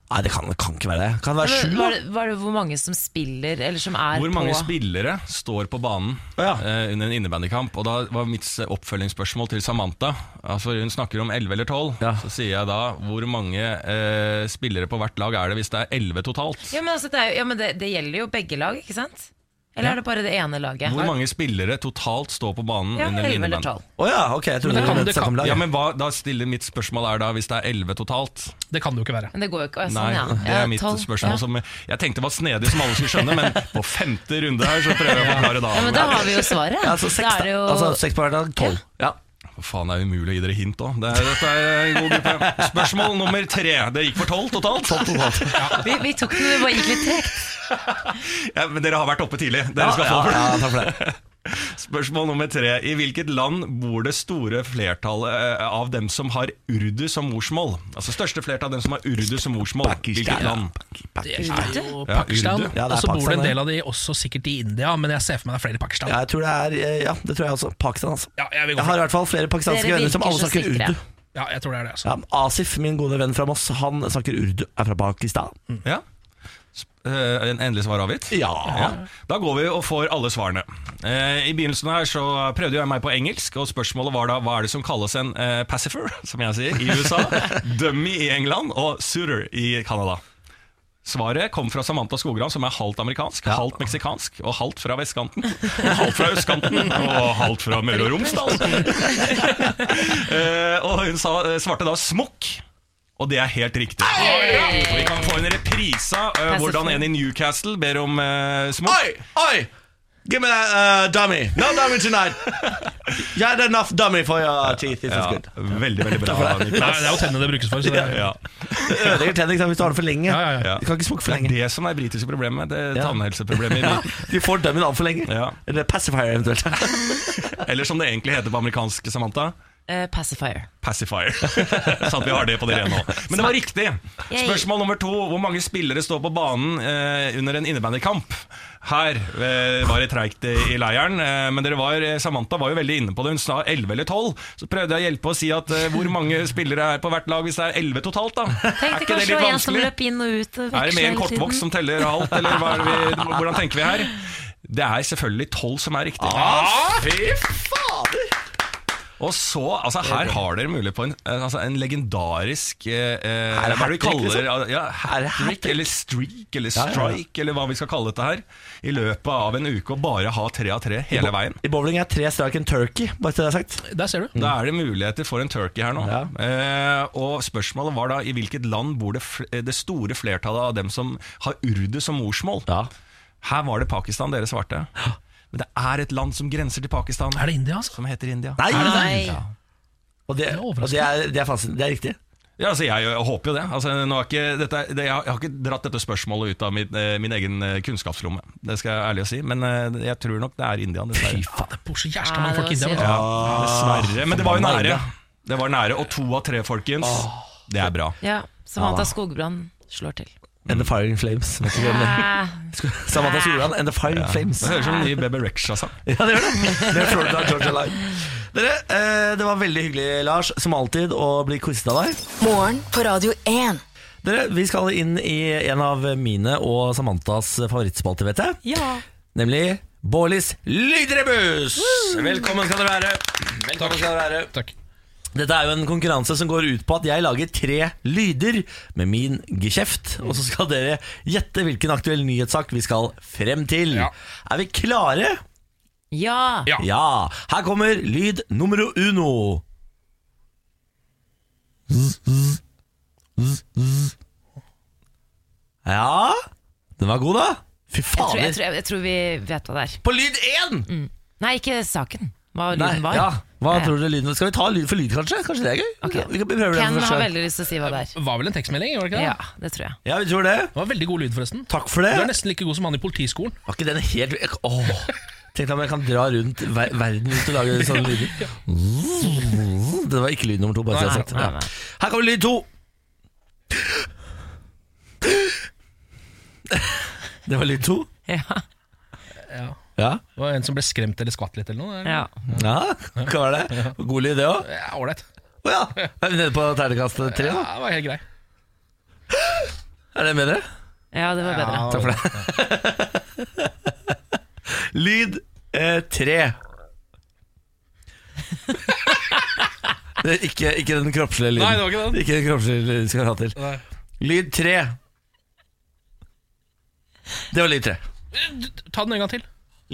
Nei, det kan, det kan ikke være det. Kan det være
Men
sju,
Var
da?
det, var det hvor mange som spiller, eller som er
Hvor mange
på
spillere står på banen
Ja.
eh, under en innebandykamp? Og da var mitt s- oppfølgingsspørsmål til Samantha. Altså Hun snakker om 11 eller 12.
Ja.
Så sier jeg da hvor mange eh, spillere på hvert lag er det hvis det er 11 totalt?
Ja, men, altså, det, er, jo- ja, men det, det gjelder jo begge lag, ikke sant? Eller er det bare det ene laget?
Hvor mange spillere totalt står på banen
Ja,
under en
11 eller
innebandy?
12.
Å ja, ok. Jeg trodde
Men det
det
kan-
var
det
et
kan-
lag.
Ja, men hva, da stiller Mitt spørsmål er da hvis det er 11 totalt.
Det kan det jo ikke være.
Men det går jo ikke. Å, ja,
Nei,
sånn, ja.
det
Ja,
er mitt
12,
spørsmål.
ja.
Som jeg tenkte var snedig, som alle skulle skjønne, men på femte runde her så prøver jeg å forklare da.
Ja, men da har vi jo svaret.
ja, altså, seks,
da er det jo
da. altså seks på hver dag. Tolv. Ja.
Hva faen, det er umulig å gi dere hint òg. Det er- Dette er en god gruppe. Spørsmål nummer tre. Det gikk for tolv totalt.
vi, vi tok den, vi bare gikk litt tregt.
Ja, men dere har vært oppe tidlig.
Ja,
Dere skal
ja,
få
ja,
for
takk for det.
det. Spørsmål nummer tre. I hvilket land bor det store flertallet eh, av dem som har urdu som morsmål? Altså største flertall av dem som har urdu som morsmål. Hvilket land?
Det er jo
Ja,
Pakistan.
Urdu.
Ja, det er
og så bor det
Pakistan,
en
det.
del av de også sikkert i India, men jeg ser for meg det er flere i Pakistan.
Ja, jeg tror det er eh, Ja, det tror jeg også. Pakistan, altså.
Ja, jeg vil gå
Jeg
for
har i
det.
hvert fall flere pakistanske
Dere
venner som
virker
alle
så
snakker
sikre.
urdu.
Ja, jeg tror det er det, altså.
Ja, Asif, min gode venn fra Moss, han snakker urdu. Er fra Pakistan.
Ja. Sp- eh, en endelig svar avgitt?
Ja.
Ja. Da går vi og får alle svarene. Eh, I begynnelsen her så prøvde jeg meg på engelsk, og spørsmålet var da hva er det som kalles en eh, pacifer, [laughs] som jeg sier, i
[laughs]
USA, dummy i England og suitor i Canada. Svaret kom fra Samantha Skogran, som er halvt amerikansk, halvt meksikansk, og halvt fra vestkanten, og halvt fra østkanten, og halvt fra Møre og
[laughs]
Romsdal. Eh, og hun sa, eh, svarte da smokk. Og det er helt riktig. Og vi kan få en reprise av eh, hvordan en i Newcastle ber om eh, smokk.
oi! Give me that dummy. No dummy tonight. You had enough dummy for your teeth. This
Ja, veldig, veldig bra.
Nei,
Niklas.
det er jo tennene det brukes for. Så det er,
Ja.
Det ødelegger tennene ikke sant, hvis du har det for lenge.
Ja, ja, ja.
Du kan ikke smukke for
Det er
lenge.
det som er britiske problemet. Det er
Ja.
Tannhelseproblemet. i
[laughs]
Brit-
Du får dummyen av for lenge.
Ja.
Eller pacifier eventuelt.
Eller som det egentlig heter på amerikansk, Samantha.
Eh, pacifier.
Pacifier. [laughs] Så at vi har det på det rene nå. Men det var riktig. Spørsmål nummer to. Hvor mange spillere står på banen eh, under en innebandykamp? Her eh, var det treigt eh, i leiren, eh, men dere var, eh, Samantha var jo veldig inne på det. Hun sa 11 eller 12. Så prøvde jeg å hjelpe å si at eh, hvor mange spillere er på hvert lag hvis det er 11 totalt, da?
Tenk
Er
det
ikke det
kanskje
litt
var en som
vanskelig?
løp inn og ut og
Er det
veksla
mer en
hele tiden.
kortvokst som teller alt, eller hva er det vi,
[laughs]
hvordan tenker vi her? Det er selvfølgelig tolv som er riktig. Ah, fy fader! Og så, altså Her har dere mulighet på en, eh, altså, en legendarisk eh, eh,
Er det
Hva er det vi
hat-trick,
kaller
liksom? Er
ja,
det
hat-trick,
hat-trick?
eller streak, eller
Ja, ja, ja.
strike, eller hva vi skal kalle dette her. I løpet av en uke, og bare ha tre av tre hele veien.
I bowling er tre strike en turkey, bare til det er sagt.
der ser du.
Da er det muligheter for en turkey her nå.
Ja.
Eh, og spørsmålet var da i hvilket land bor det, fl eh, det store flertallet av dem som har urdu som morsmål? Her var det Pakistan dere svarte. Men det er et land som grenser til Pakistan,
Er det India, altså?
som heter India.
Nei!
Nei.
Ja. Og det,
er
og det, er, det er fasiten. Det er riktig.
Ja, altså, jeg, jeg håper jo det. Altså, nå er ikke, dette, er- det jeg, har- jeg har ikke dratt dette spørsmålet ut av min, eh, min egen eh, kunnskapslomme, det skal jeg ærlig å si. Men eh, jeg tror nok det er India,
Fy
dessverre.
faen, det bor så jævla
Nei,
mange
det
folk i
var
India. vet du.
Ja,
Ah.
dessverre. eh, Men det var jo
forbanna
nære.
India.
Det var nære, Og to av tre, folkens. Det er bra.
Ja, Samantha Skogbrann slår til.
And the firing flames. Vet ikke hvem det-
Ah,
Samantha Skogran and the firing flames.
Det høres ut som en ny altså. Bebe Rexha-sang.
[laughs] Ja, det gjør det. Det er Florida Georgia Line. Dere, eh, det var veldig hyggelig, Lars, som alltid, å bli quizet av deg.
Morgen på Radio 1.
Dere, Vi skal inn i en av mine og Samantas favorittspalter, vet jeg.
ja.
Nemlig Bårlis lydrebuss! Velkommen skal dere være. Velkommen skal dere være.
Takk.
Dette er jo en konkurranse som går ut på at jeg lager tre lyder med min geskjeft, og så skal dere gjette hvilken aktuell nyhetssak vi skal frem til.
Ja.
Er vi klare?
Ja!
Ja.
Ja, her kommer lyd nummer uno. Ja, den var god, da. Fy
Jeg tror, jeg,
fader.
tror, jeg, jeg tror vi vet hva det er.
På lyd én!
Nei, ikke saken. Hva
Nei,
lyden var.
ja. Hva
Ja, ja.
tror dere lyden Skal vi ta lyd for lyd, kanskje? Kanskje det er gøy?
Ok.
Vi kan prøve det
Ken
for
har
seg.
veldig lyst til å si hva det er.
Var vel en tekstmelding? var Det ikke det?
Ja, det tror jeg.
Ja, vi tror det.
Det var veldig god lyd, forresten.
Takk for
Du er
det.
nesten like god som han i politiskolen.
Var ikke den helt Åh. Tenk deg om jeg kan dra rundt ver verden rundt og lage sånne
[laughs]
lyder. Det var ikke lyd nummer to. bare så jeg har sagt.
Nei, nei, nei.
Ja. Her kommer lyd to. Det var lyd to?
Ja,
Ja.
Det var en som ble skremt eller skvatt litt. eller noe
ja.
ja. Hva var det? God lyd, det òg?
Ja, Ålreit.
Å ja. Er vi nede på terningkast tre,
Ja,
da?
det var helt grei.
Er det bedre?
ja det var bedre.
Takk for det. Lyd eh, tre. Det er ikke, ikke den kroppslige lyden.
Nei, det var ikke den.
Ikke den kroppslige lyden skal vi ha til.
Nei.
Lyd tre. Det var lyd tre.
Du- Ta den en gang til.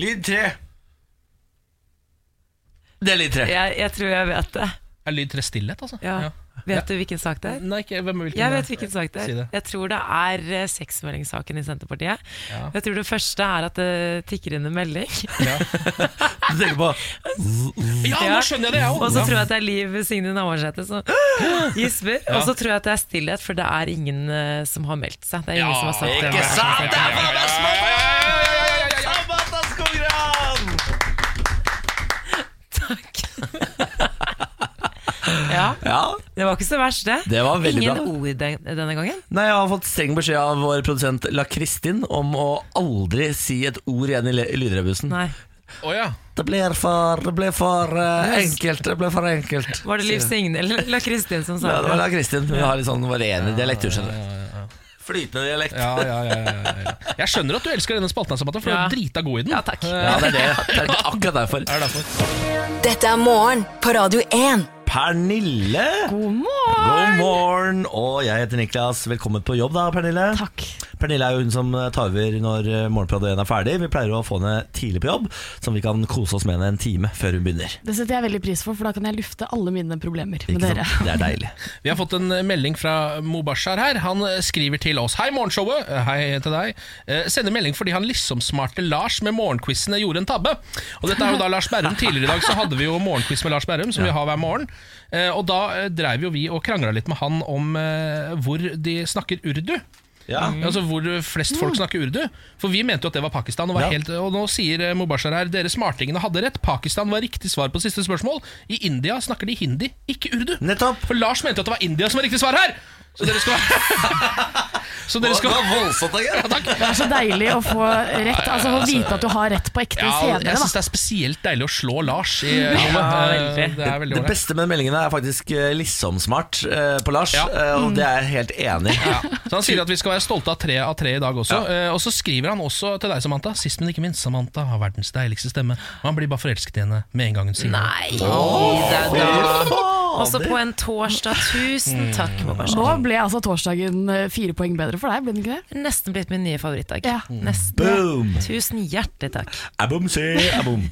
Lyd tre. Det er lyd tre.
Jeg, jeg tror jeg vet det.
Er lyd tre stillhet, altså?
Ja. Vet du hvilken sak det er?
Nei, ikke, hvem, hvilken
Jeg vet hvilken sak det
Si
er.
det.
Jeg tror det er eh, sexmeldingssaken i Senterpartiet.
Ja.
Jeg tror det første er at det tikker inn en
Du
melding.
tenker på
Ja, nå skjønner jeg det, jeg
[laughs] Og så
òg.
tror jeg at det er Liv Signe Navarsete
[gasps]
som gisper. Og så tror jeg at det er stillhet, for det er ingen eh, som har meldt seg. Det er ingen
Ja,
som har sagt det.
Ikke sant? Det er faen meg
ja,
smart! Samantha Skogran!
Takk. ja,
Ja,
det var ikke så verst, det.
det var veldig bra.
ingen ord den- denne gangen.
Nei, Jeg har fått streng beskjed av vår produsent La Kristin om å aldri si et ord igjen i le- i lydrebussen.
Nei.
Å ja.
Det blir for, det blir for eh, enkelt. Det blir for enkelt.
Var det Liv Signe eller La Kristin som
Ja,
sa
det var
det?
La Kristin. Hun har litt sånn varierende dialekt. du skjønner Flytende dialekt.
Ja, ja, ja, ja, ja. Jeg skjønner at du elsker denne spalten, her, Samantha, for du
Ja.
er drita god i den. Eh,
Ja, takk.
Ja, det er det. Det er akkurat derfor.
Er det derfor?
Dette er morgen på Radio 1.
Pernille,
God morgen!
god morgen. Og jeg heter Niklas. Velkommen på jobb, da, Pernille.
Takk.
Pernille er jo hun som tar over når eh, Morgenpratet 1 er ferdig. Vi pleier å få henne tidlig på jobb, så vi kan kose oss med henne en time før hun begynner.
Det setter jeg veldig pris for, for da kan jeg lufte alle mine problemer med
Ikke sant?
dere.
Det er deilig.
Vi har fått en melding fra Mubashar her. Han eh, skriver til oss. Hei, morgenshowet. Hei til deg. Eh, Sender melding fordi han liksom-smarte Lars med morgenquizene gjorde en tabbe. Og dette er jo da Lars Berrum. Tidligere i dag så hadde vi jo morgenquiz med Lars Berrum, som vi har hver morgen. Eh, Og da eh, dreiv jo vi og krangla litt med han om eh, hvor de snakker urdu.
Ja. Mm.
Altså Hvor flest folk snakker urdu. For vi mente jo at det var Pakistan. Og, var
Ja.
helt, og nå sier eh, Mubashar her dere smartingene hadde rett. Pakistan var riktig svar på siste spørsmål. I India snakker de hindi, ikke urdu.
[laughs] Nettopp.
For Lars mente at det var India som var riktig svar her! Så dere skal Så dere skal
voldsomt,
Ja, takk.
Det er så deilig å få rett, altså å vite at du har rett på ekte
Ja,
senere.
jeg syns
Da.
det er spesielt deilig å slå Lars i
veldig.
Det er veldig
Det
ålreit.
beste med meldingene er faktisk eh, liksom-smart eh, på Lars,
Ja.
eh, og det er jeg helt enig i.
Ja. Så Han sier at vi skal være stolte av tre av tre i dag også. Eh, og så skriver han også til deg, Samantha. Sist, men ikke minst, Samantha har verdens deiligste stemme. Og han blir bare forelsket i henne med en gang hun sier det.
Nei, det er da. Også
Fader.
på en torsdag.
Mm.
Tusen takk. Mobasha.
Nå ble altså torsdagen eh, fire poeng bedre for deg, ble den ikke det?
Nesten blitt min nye favorittdag. Mm.
Ja.
Nesten.
Boom!
Tusen hjertelig takk.
Abom, se, abom.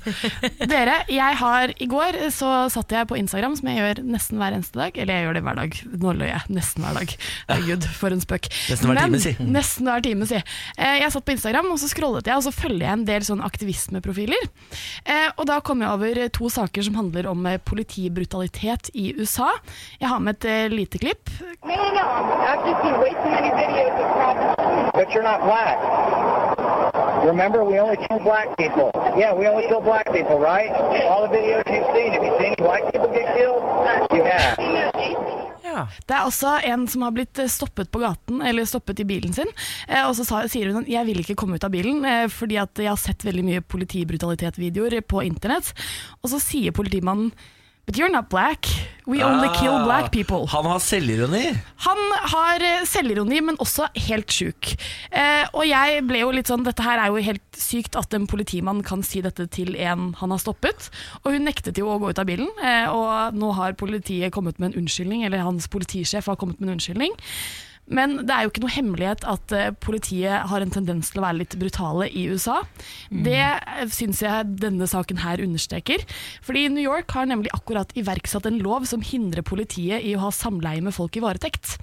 Dere, jeg har i går eh, så satt jeg på Instagram, som jeg gjør nesten hver eneste dag. Eller jeg gjør det hver dag. Nå løy jeg. Nesten hver dag. Herregud, for en spøk.
Nesten hver time,
Men-
si. Mm.
Nesten hver time, si. Eh, Jeg satt på Instagram, og så scrollet jeg, og så følger jeg en del sånn aktivismeprofiler. Eh, Og da kom jeg over to saker som handler om eh, politibrutalitet i USA. Jeg har med et eh, lite klipp.
No, no, no. I've just seen way too many videos of problems. But you're not black. Remember, we only kill black people. Yeah, we only kill black people, right? All the videos you've seen, have you seen any white people get killed? You have.
Ja.
Det er også en som har blitt eh, stoppet på gaten, eller stoppet i bilen sin. eh, Og så sa, sier hun at jeg vil ikke komme ut av bilen, eh, fordi at jeg har sett veldig mye politibrutalitet-videoer på internett. Og så sier politimannen But you're not black. We only kill black people.
Ah, Han har selvironi.
Han har eh, selvironi, men også helt sjuk. Eh, og jeg ble jo litt sånn Dette her er jo helt sykt at en politimann kan si dette til en han har stoppet. Og hun nektet jo å gå ut av bilen, eh, og nå har politiet kommet med en unnskyldning. Eller hans politisjef har kommet med en unnskyldning. Men det er jo ikke noe hemmelighet at eh, politiet har en tendens til å være litt brutale i USA.
Mm.
Det eh, syns jeg denne saken her understreker. Fordi New York har nemlig akkurat iverksatt en lov som hindrer politiet i å ha samleie med folk i varetekt.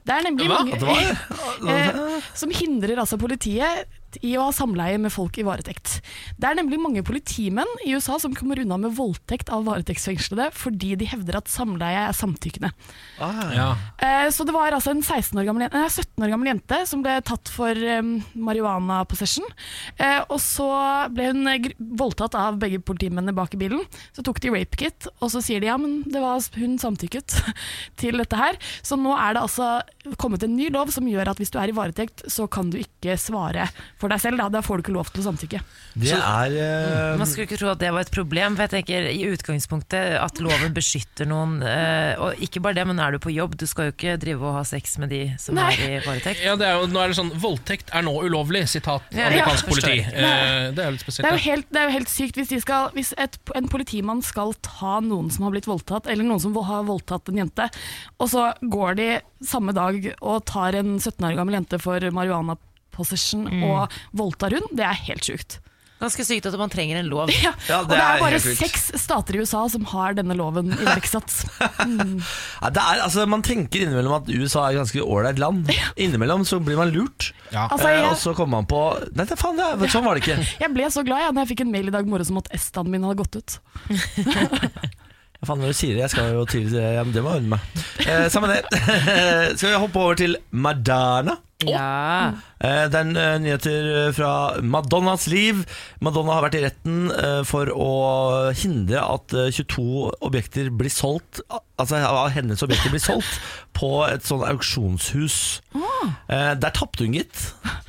Det er nemlig
Hva?
mange
Det
[laughs]
var-
Eh, Som hindrer altså politiet i å ha samleie med folk i varetekt. Det er nemlig mange politimenn i USA som kommer unna med voldtekt av varetektsfengslede fordi de hevder at samleie er samtykkende.
Ja.
Eh, Så det var altså en 16 år gammel, jen- nei, 17 år gammel jente som ble tatt for um, marihuana possession. Eh, og så ble hun eh, gr- voldtatt av begge politimennene bak i bilen. Så tok de rape kit, og så sier de ja, men det var hun samtykket [laughs] til dette her. Så nå er det altså kommet en ny lov som gjør at hvis du er i varetekt, så kan du ikke svare for deg selv. Da, da får du ikke lov til å samtykke.
Det er eh,
Man skulle ikke tro at det var et problem, for jeg tenker i utgangspunktet at loven beskytter noen. eh, Og ikke bare det, men er du på jobb, du skal jo ikke drive og ha sex med de som
Nei.
er i varetekt.
Ja, det er jo, nå er det sånn 'voldtekt er nå ulovlig', sitat
Ja,
amerikansk
ja,
politi.
forstår.
Eh, det er jo litt spesielt.
Det er
da.
jo helt, det er jo helt sykt hvis, de skal, hvis et, en politimann skal ta noen som har blitt voldtatt, eller noen som vo- har voldtatt en jente, og så går de samme dag og tar en 17 år gammel jente for marihuana possession
Mm.
og voldtar hun. Det er helt sjukt.
Ganske sykt at man trenger en lov.
Ja, og det er bare seks stater i USA som har denne loven iverksatt. Mm.
Ja, det er, altså, man tenker innimellom at USA er et ganske ålreit land. Innimellom så blir man lurt,
Altså,
Eh,
jeg-
og så kommer man på Nei, det, faen, det er, sånn var det ikke.
Jeg ble så glad jeg, når jeg fikk en mail i dag morges om at estaen min hadde gått ut.
Hva faen er det du sier? Jeg skal jo til ja, men Det må jeg unne meg. Eh, samme det. [laughs] skal vi hoppe over til Madonna?
Ja.
Eh, Det er en, eh, nyheter fra Madonnas liv. Madonna har vært i retten eh, for å hindre at eh, 22 objekter blir solgt al- Altså av hennes objekter blir solgt på et sånn auksjonshus. Eh, Der tapte hun, gitt.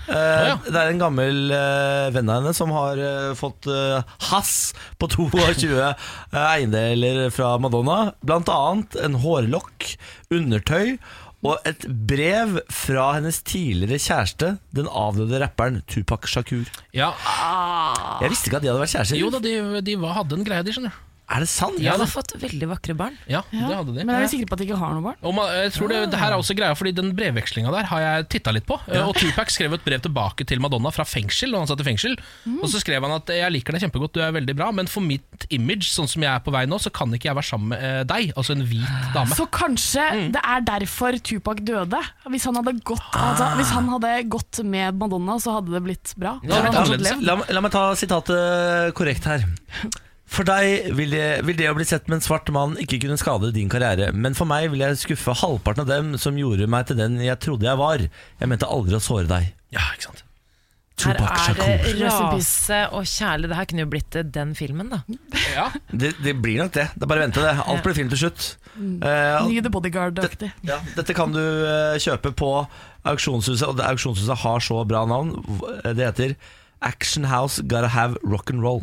Eh, Det er en gammel eh, venn av henne som har eh, fått eh, hass på 22 eiendeler fra Madonna. Blant annet en hårlokk, undertøy og et brev fra hennes tidligere kjæreste, den avdøde rapperen Tupac Shakur.
Ja.
Jeg visste ikke at de hadde vært kjærester.
Jo da, de, de var, hadde en greie, de, skjønner du.
Er det sant?
Ja,
Hun
da.
har fått veldig vakre barn.
Ja, det hadde de.
Men er vi sikre på at de ikke har noe barn?
Og man, jeg tror det,
Ah.
det her er også greia, fordi Den brevvekslinga der har jeg titta litt på. Eh,
Ja.
Og Tupac skrev et brev tilbake til Madonna fra fengsel. Og han satt i fengsel
Mm.
Og så skrev han at jeg liker deg kjempegodt, du er veldig bra, men for mitt image, sånn som jeg er på vei nå, så kan ikke jeg være sammen med eh, deg. Altså en hvit dame.
Så kanskje det er derfor Tupac døde. Hvis han, hadde gått, altså, hvis han hadde gått med Madonna, så hadde det blitt bra.
La,
Da hadde
la,
han fått
la,
levd.
la, la meg ta sitatet korrekt her. For deg vil det, vil det å bli sett med en svart mann ikke kunne skade din karriere, men for meg vil jeg skuffe halvparten av dem som gjorde meg til den jeg trodde jeg var. Jeg mente aldri å såre deg.
Ja, ikke sant
Her
Tupac
er det
Shakur.
rase og kjærlighet. Det her kunne jo blitt eh, den filmen, da.
Det, det blir nok det. Det er bare å vente, det. Alt blir film til slutt.
Mm.
Eh,
Ny The Bodyguard-aktig.
Ja, dette kan du eh, kjøpe på auksjonshuset, og det auksjonshuset har så bra navn. Hv- Det heter Action House Gotta Have Rock'n'Roll.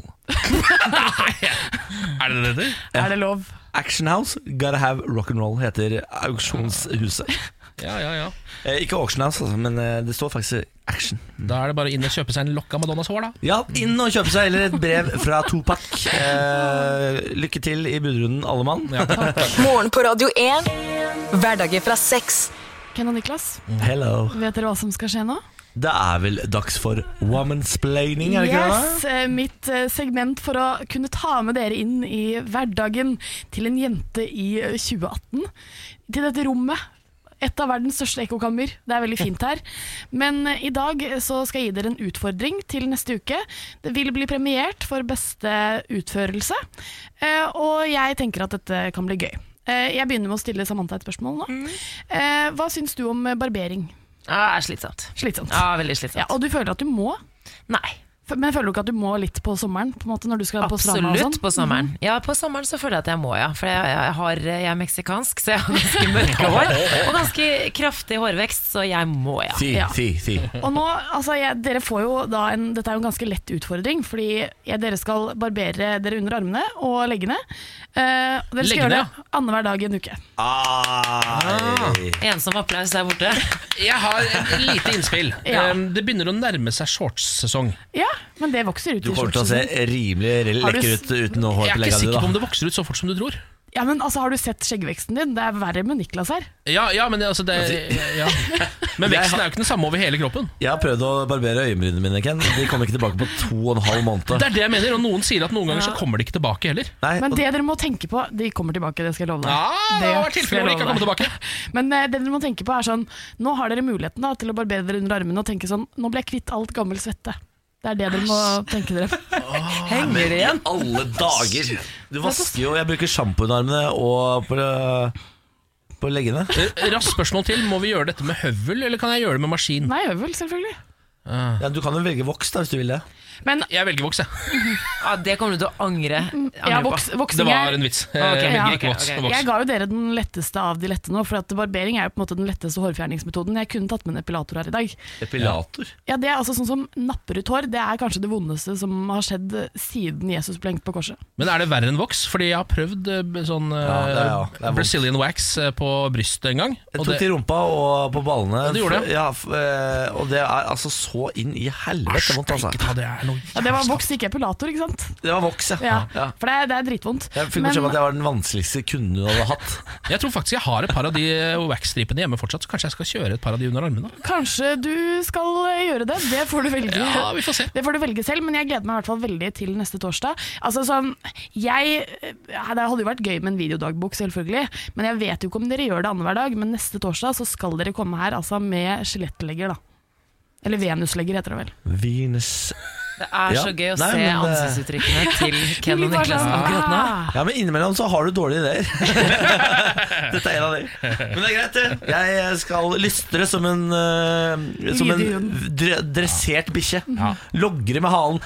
Er det det det?
Ja.
Er det lov?
Action House Gotta Have Rock'n'Roll heter auksjonshuset.
Ja, ja, ja
Eh, ikke Auction House, altså, men eh, det står faktisk Action.
Da er det bare inn og kjøpe seg en lokk av Madonnas hår, da.
Ja, inn og kjøpe seg heller et brev fra Topak. Eh, lykke til i budrunden, alle mann.
Morgen på Radio 1. Hverdager fra seks.
Ken og Niklas,
Hello.
vet dere hva som skal skje nå?
Det er vel dags for womansplaining, er det ikke det?
yes, eh, Mitt eh, segment for å kunne ta med dere inn i hverdagen til en jente i eh, 2018. Til dette rommet. Et av verdens største ekkokammer. Det er veldig fint her. Men eh, i dag så skal jeg gi dere en utfordring til neste uke. Det vil bli premiert for beste utførelse. Eh, Og jeg tenker at dette kan bli gøy. Eh, Jeg begynner med å stille Samantha et spørsmål nå. Eh, Hva syns du om eh, barbering?
Ja, det er slitsomt.
Slitsomt.
Ja, veldig slitsomt.
Ja, og du føler at du må?
Nei.
F- Men føler du ikke at du må litt på sommeren? På en måte, når du skal på stranda og
Absolutt
sånn?
på sommeren. Ja, på sommeren så føler jeg at jeg må, ja. For jeg, jeg, har, jeg er meksikansk, så jeg har ganske mørke hår. Og ganske kraftig hårvekst, så jeg må, ja.
Si,
Ja.
si, si.
Og nå, altså, jeg, dere får jo da en, Dette er jo en ganske lett utfordring, fordi jeg, dere skal barbere dere under armene og leggene. Eh, og dere skal
Leggene,
gjøre det annenhver dag i en uke.
Ah. Ai.
Ensom applaus der
[laughs]
borte.
Jeg har et lite innspill. [laughs]
Ja.
Em, Det begynner å nærme seg shortssesong.
Ja, men det vokser ut
Du
i
kommer til å se
shortsen.
rimelig
Har du
sånn.
lekker
s-
ut uten noe
Jeg
hår
er
på
ikke
leggene
sikker på om
dine.
det vokser ut så fort som du tror.
Ja, men altså, Har du sett skjeggveksten din? Det er verre med Niklas her.
Ja, ja men det, altså det, ja. Men veksten er jo ikke den samme over hele kroppen.
Jeg har prøvd å barbere øyenbrynene mine, Ken. De kom ikke tilbake på to og en halv måned.
Det er det jeg mener, og noen sier at noen ganger så kommer de ikke tilbake heller.
Men det dere må tenke på De kommer tilbake, det skal jeg love deg.
Ah,
Ja, det har vært tilfeller hvor de ikke har kommet
tilbake Men eh, det dere må tenke på er sånn Nå har dere muligheten da, til å barbere dere under armene og tenke sånn Nå ble jeg kvitt alt gammel svette. Det er det dere må tenke dere
Henger igjen! I alle dager! Du vasker jo Jeg bruker sjampo under armene og på, eh, på leggene.
Eh, Raskt spørsmål til. Må vi gjøre dette med høvel, eller kan jeg gjøre det med maskin?
Nei, høvel, selvfølgelig.
Ja, du kan jo velge voks da, hvis du vil det.
Men
Jeg velger voks, jeg.
Ja, det kommer du til å angre. angre
Ja,
på.
voks, voksing
Det
er-
var en vits. Eh,
Ok,
Jeg
ja,
velger ikke
ok,
voks.
ok.
voks.
Jeg ga jo dere den letteste av de lette nå, for at barbering er jo på en måte den letteste hårfjerningsmetoden. Jeg kunne tatt med en epilator her i dag.
Epilator.
Ja, det er altså sånn som napper ut hår. Det er kanskje det vondeste som har skjedd siden Jesus ble hengt på korset.
Men er det verre enn voks? Fordi jeg har prøvd eh, b- sånn eh,
Ja, det er- ja, det er vondt.
Brazilian wax eh, på brystet en gang.
Jeg
og
tok
det-
til rumpa og på ballene.
Ja, du gjorde det.
Ja, f- eh, og det er altså så inn i helvete vondt, altså.
Ja, det er noe
Ja, det var voks, ikke epilator, ikke sant?
Det var voks, ja.
Ja,
ja.
For det er, det er dritvondt.
Jeg fikk beskjed om at jeg var den vanskeligste kunden du hadde hatt.
Jeg tror faktisk jeg har et par av de eh, wax-stripene hjemme fortsatt, så kanskje jeg skal kjøre et par av de under armene.
Kanskje du skal eh, gjøre det. Det får du velge.
Ja, vi får se.
Det får du velge selv, men jeg gleder meg i hvert fall veldig til neste torsdag. Altså sånn, jeg, ja, Det hadde jo vært gøy med en videodagbok, selvfølgelig, men jeg vet jo ikke om dere gjør det annenhver dag. Men neste torsdag så skal dere komme her altså, med skjelettlegger, da. Eller venuslegger, heter det vel.
Venus
Det er
Ja.
så gøy å
Nei,
se
men, eh,
ansiktsuttrykkene
[laughs]
til Ken og
Vi bare
Niklas
sånn,
akkurat nå.
ah.
Ja, men innimellom så har du dårlige ideer. Dette er en av dem. Men det er greit, det. Jeg eh, skal lystre som en, eh, som en dre dressert bikkje. Logre med halen.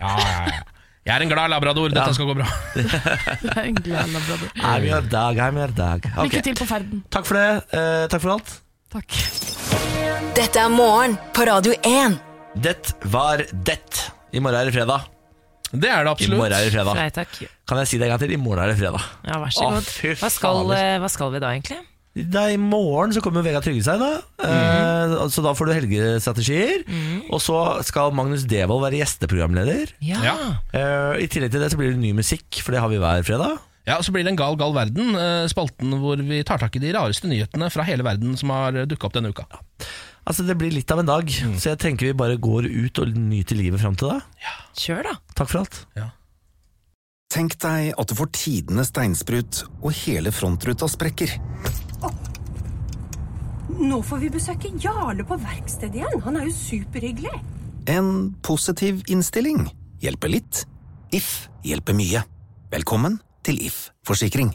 Ja, ja, ja. Jeg er en glad labrador, dette skal gå bra.
Det er en glad labrador.
I'm your dog, I'm your dog. Ok.
Lykke til på ferden.
Takk for det. eh, takk for alt.
Takk.
Dette er morgen på Radio 1.
Det var det. I morgen er det fredag.
Det er det
I morgen
absolutt.
er det fredag.
Nei takk.
Kan jeg si det en gang til? I morgen er det fredag.
Ja, vær så
Å,
god.
fy
Hva skal,
fader.
eh, hva skal vi da, egentlig?
Da, I morgen så kommer Vegard Trygge seg, da. Eh, så da får du helgestrategier. Og så skal Magnus Devold være gjesteprogramleder.
Ja.
Ja.
Eh, I tillegg til det så blir det ny musikk, for det har vi hver fredag.
Ja, og Så blir det en gal, gal verden, eh, spalten hvor vi tar tak i de rareste nyhetene fra hele verden som har dukka opp denne uka.
Altså Det blir litt av en dag, så jeg tenker vi bare går ut og nyter livet fram til da.
Kjør, da.
Takk for alt.
Tenk deg at du får tidenes steinsprut, og hele frontruta sprekker.
Nå får vi besøke Jarle på verkstedet igjen. Han er jo superhyggelig.
En positiv innstilling hjelper litt. If hjelper mye. Velkommen til If forsikring.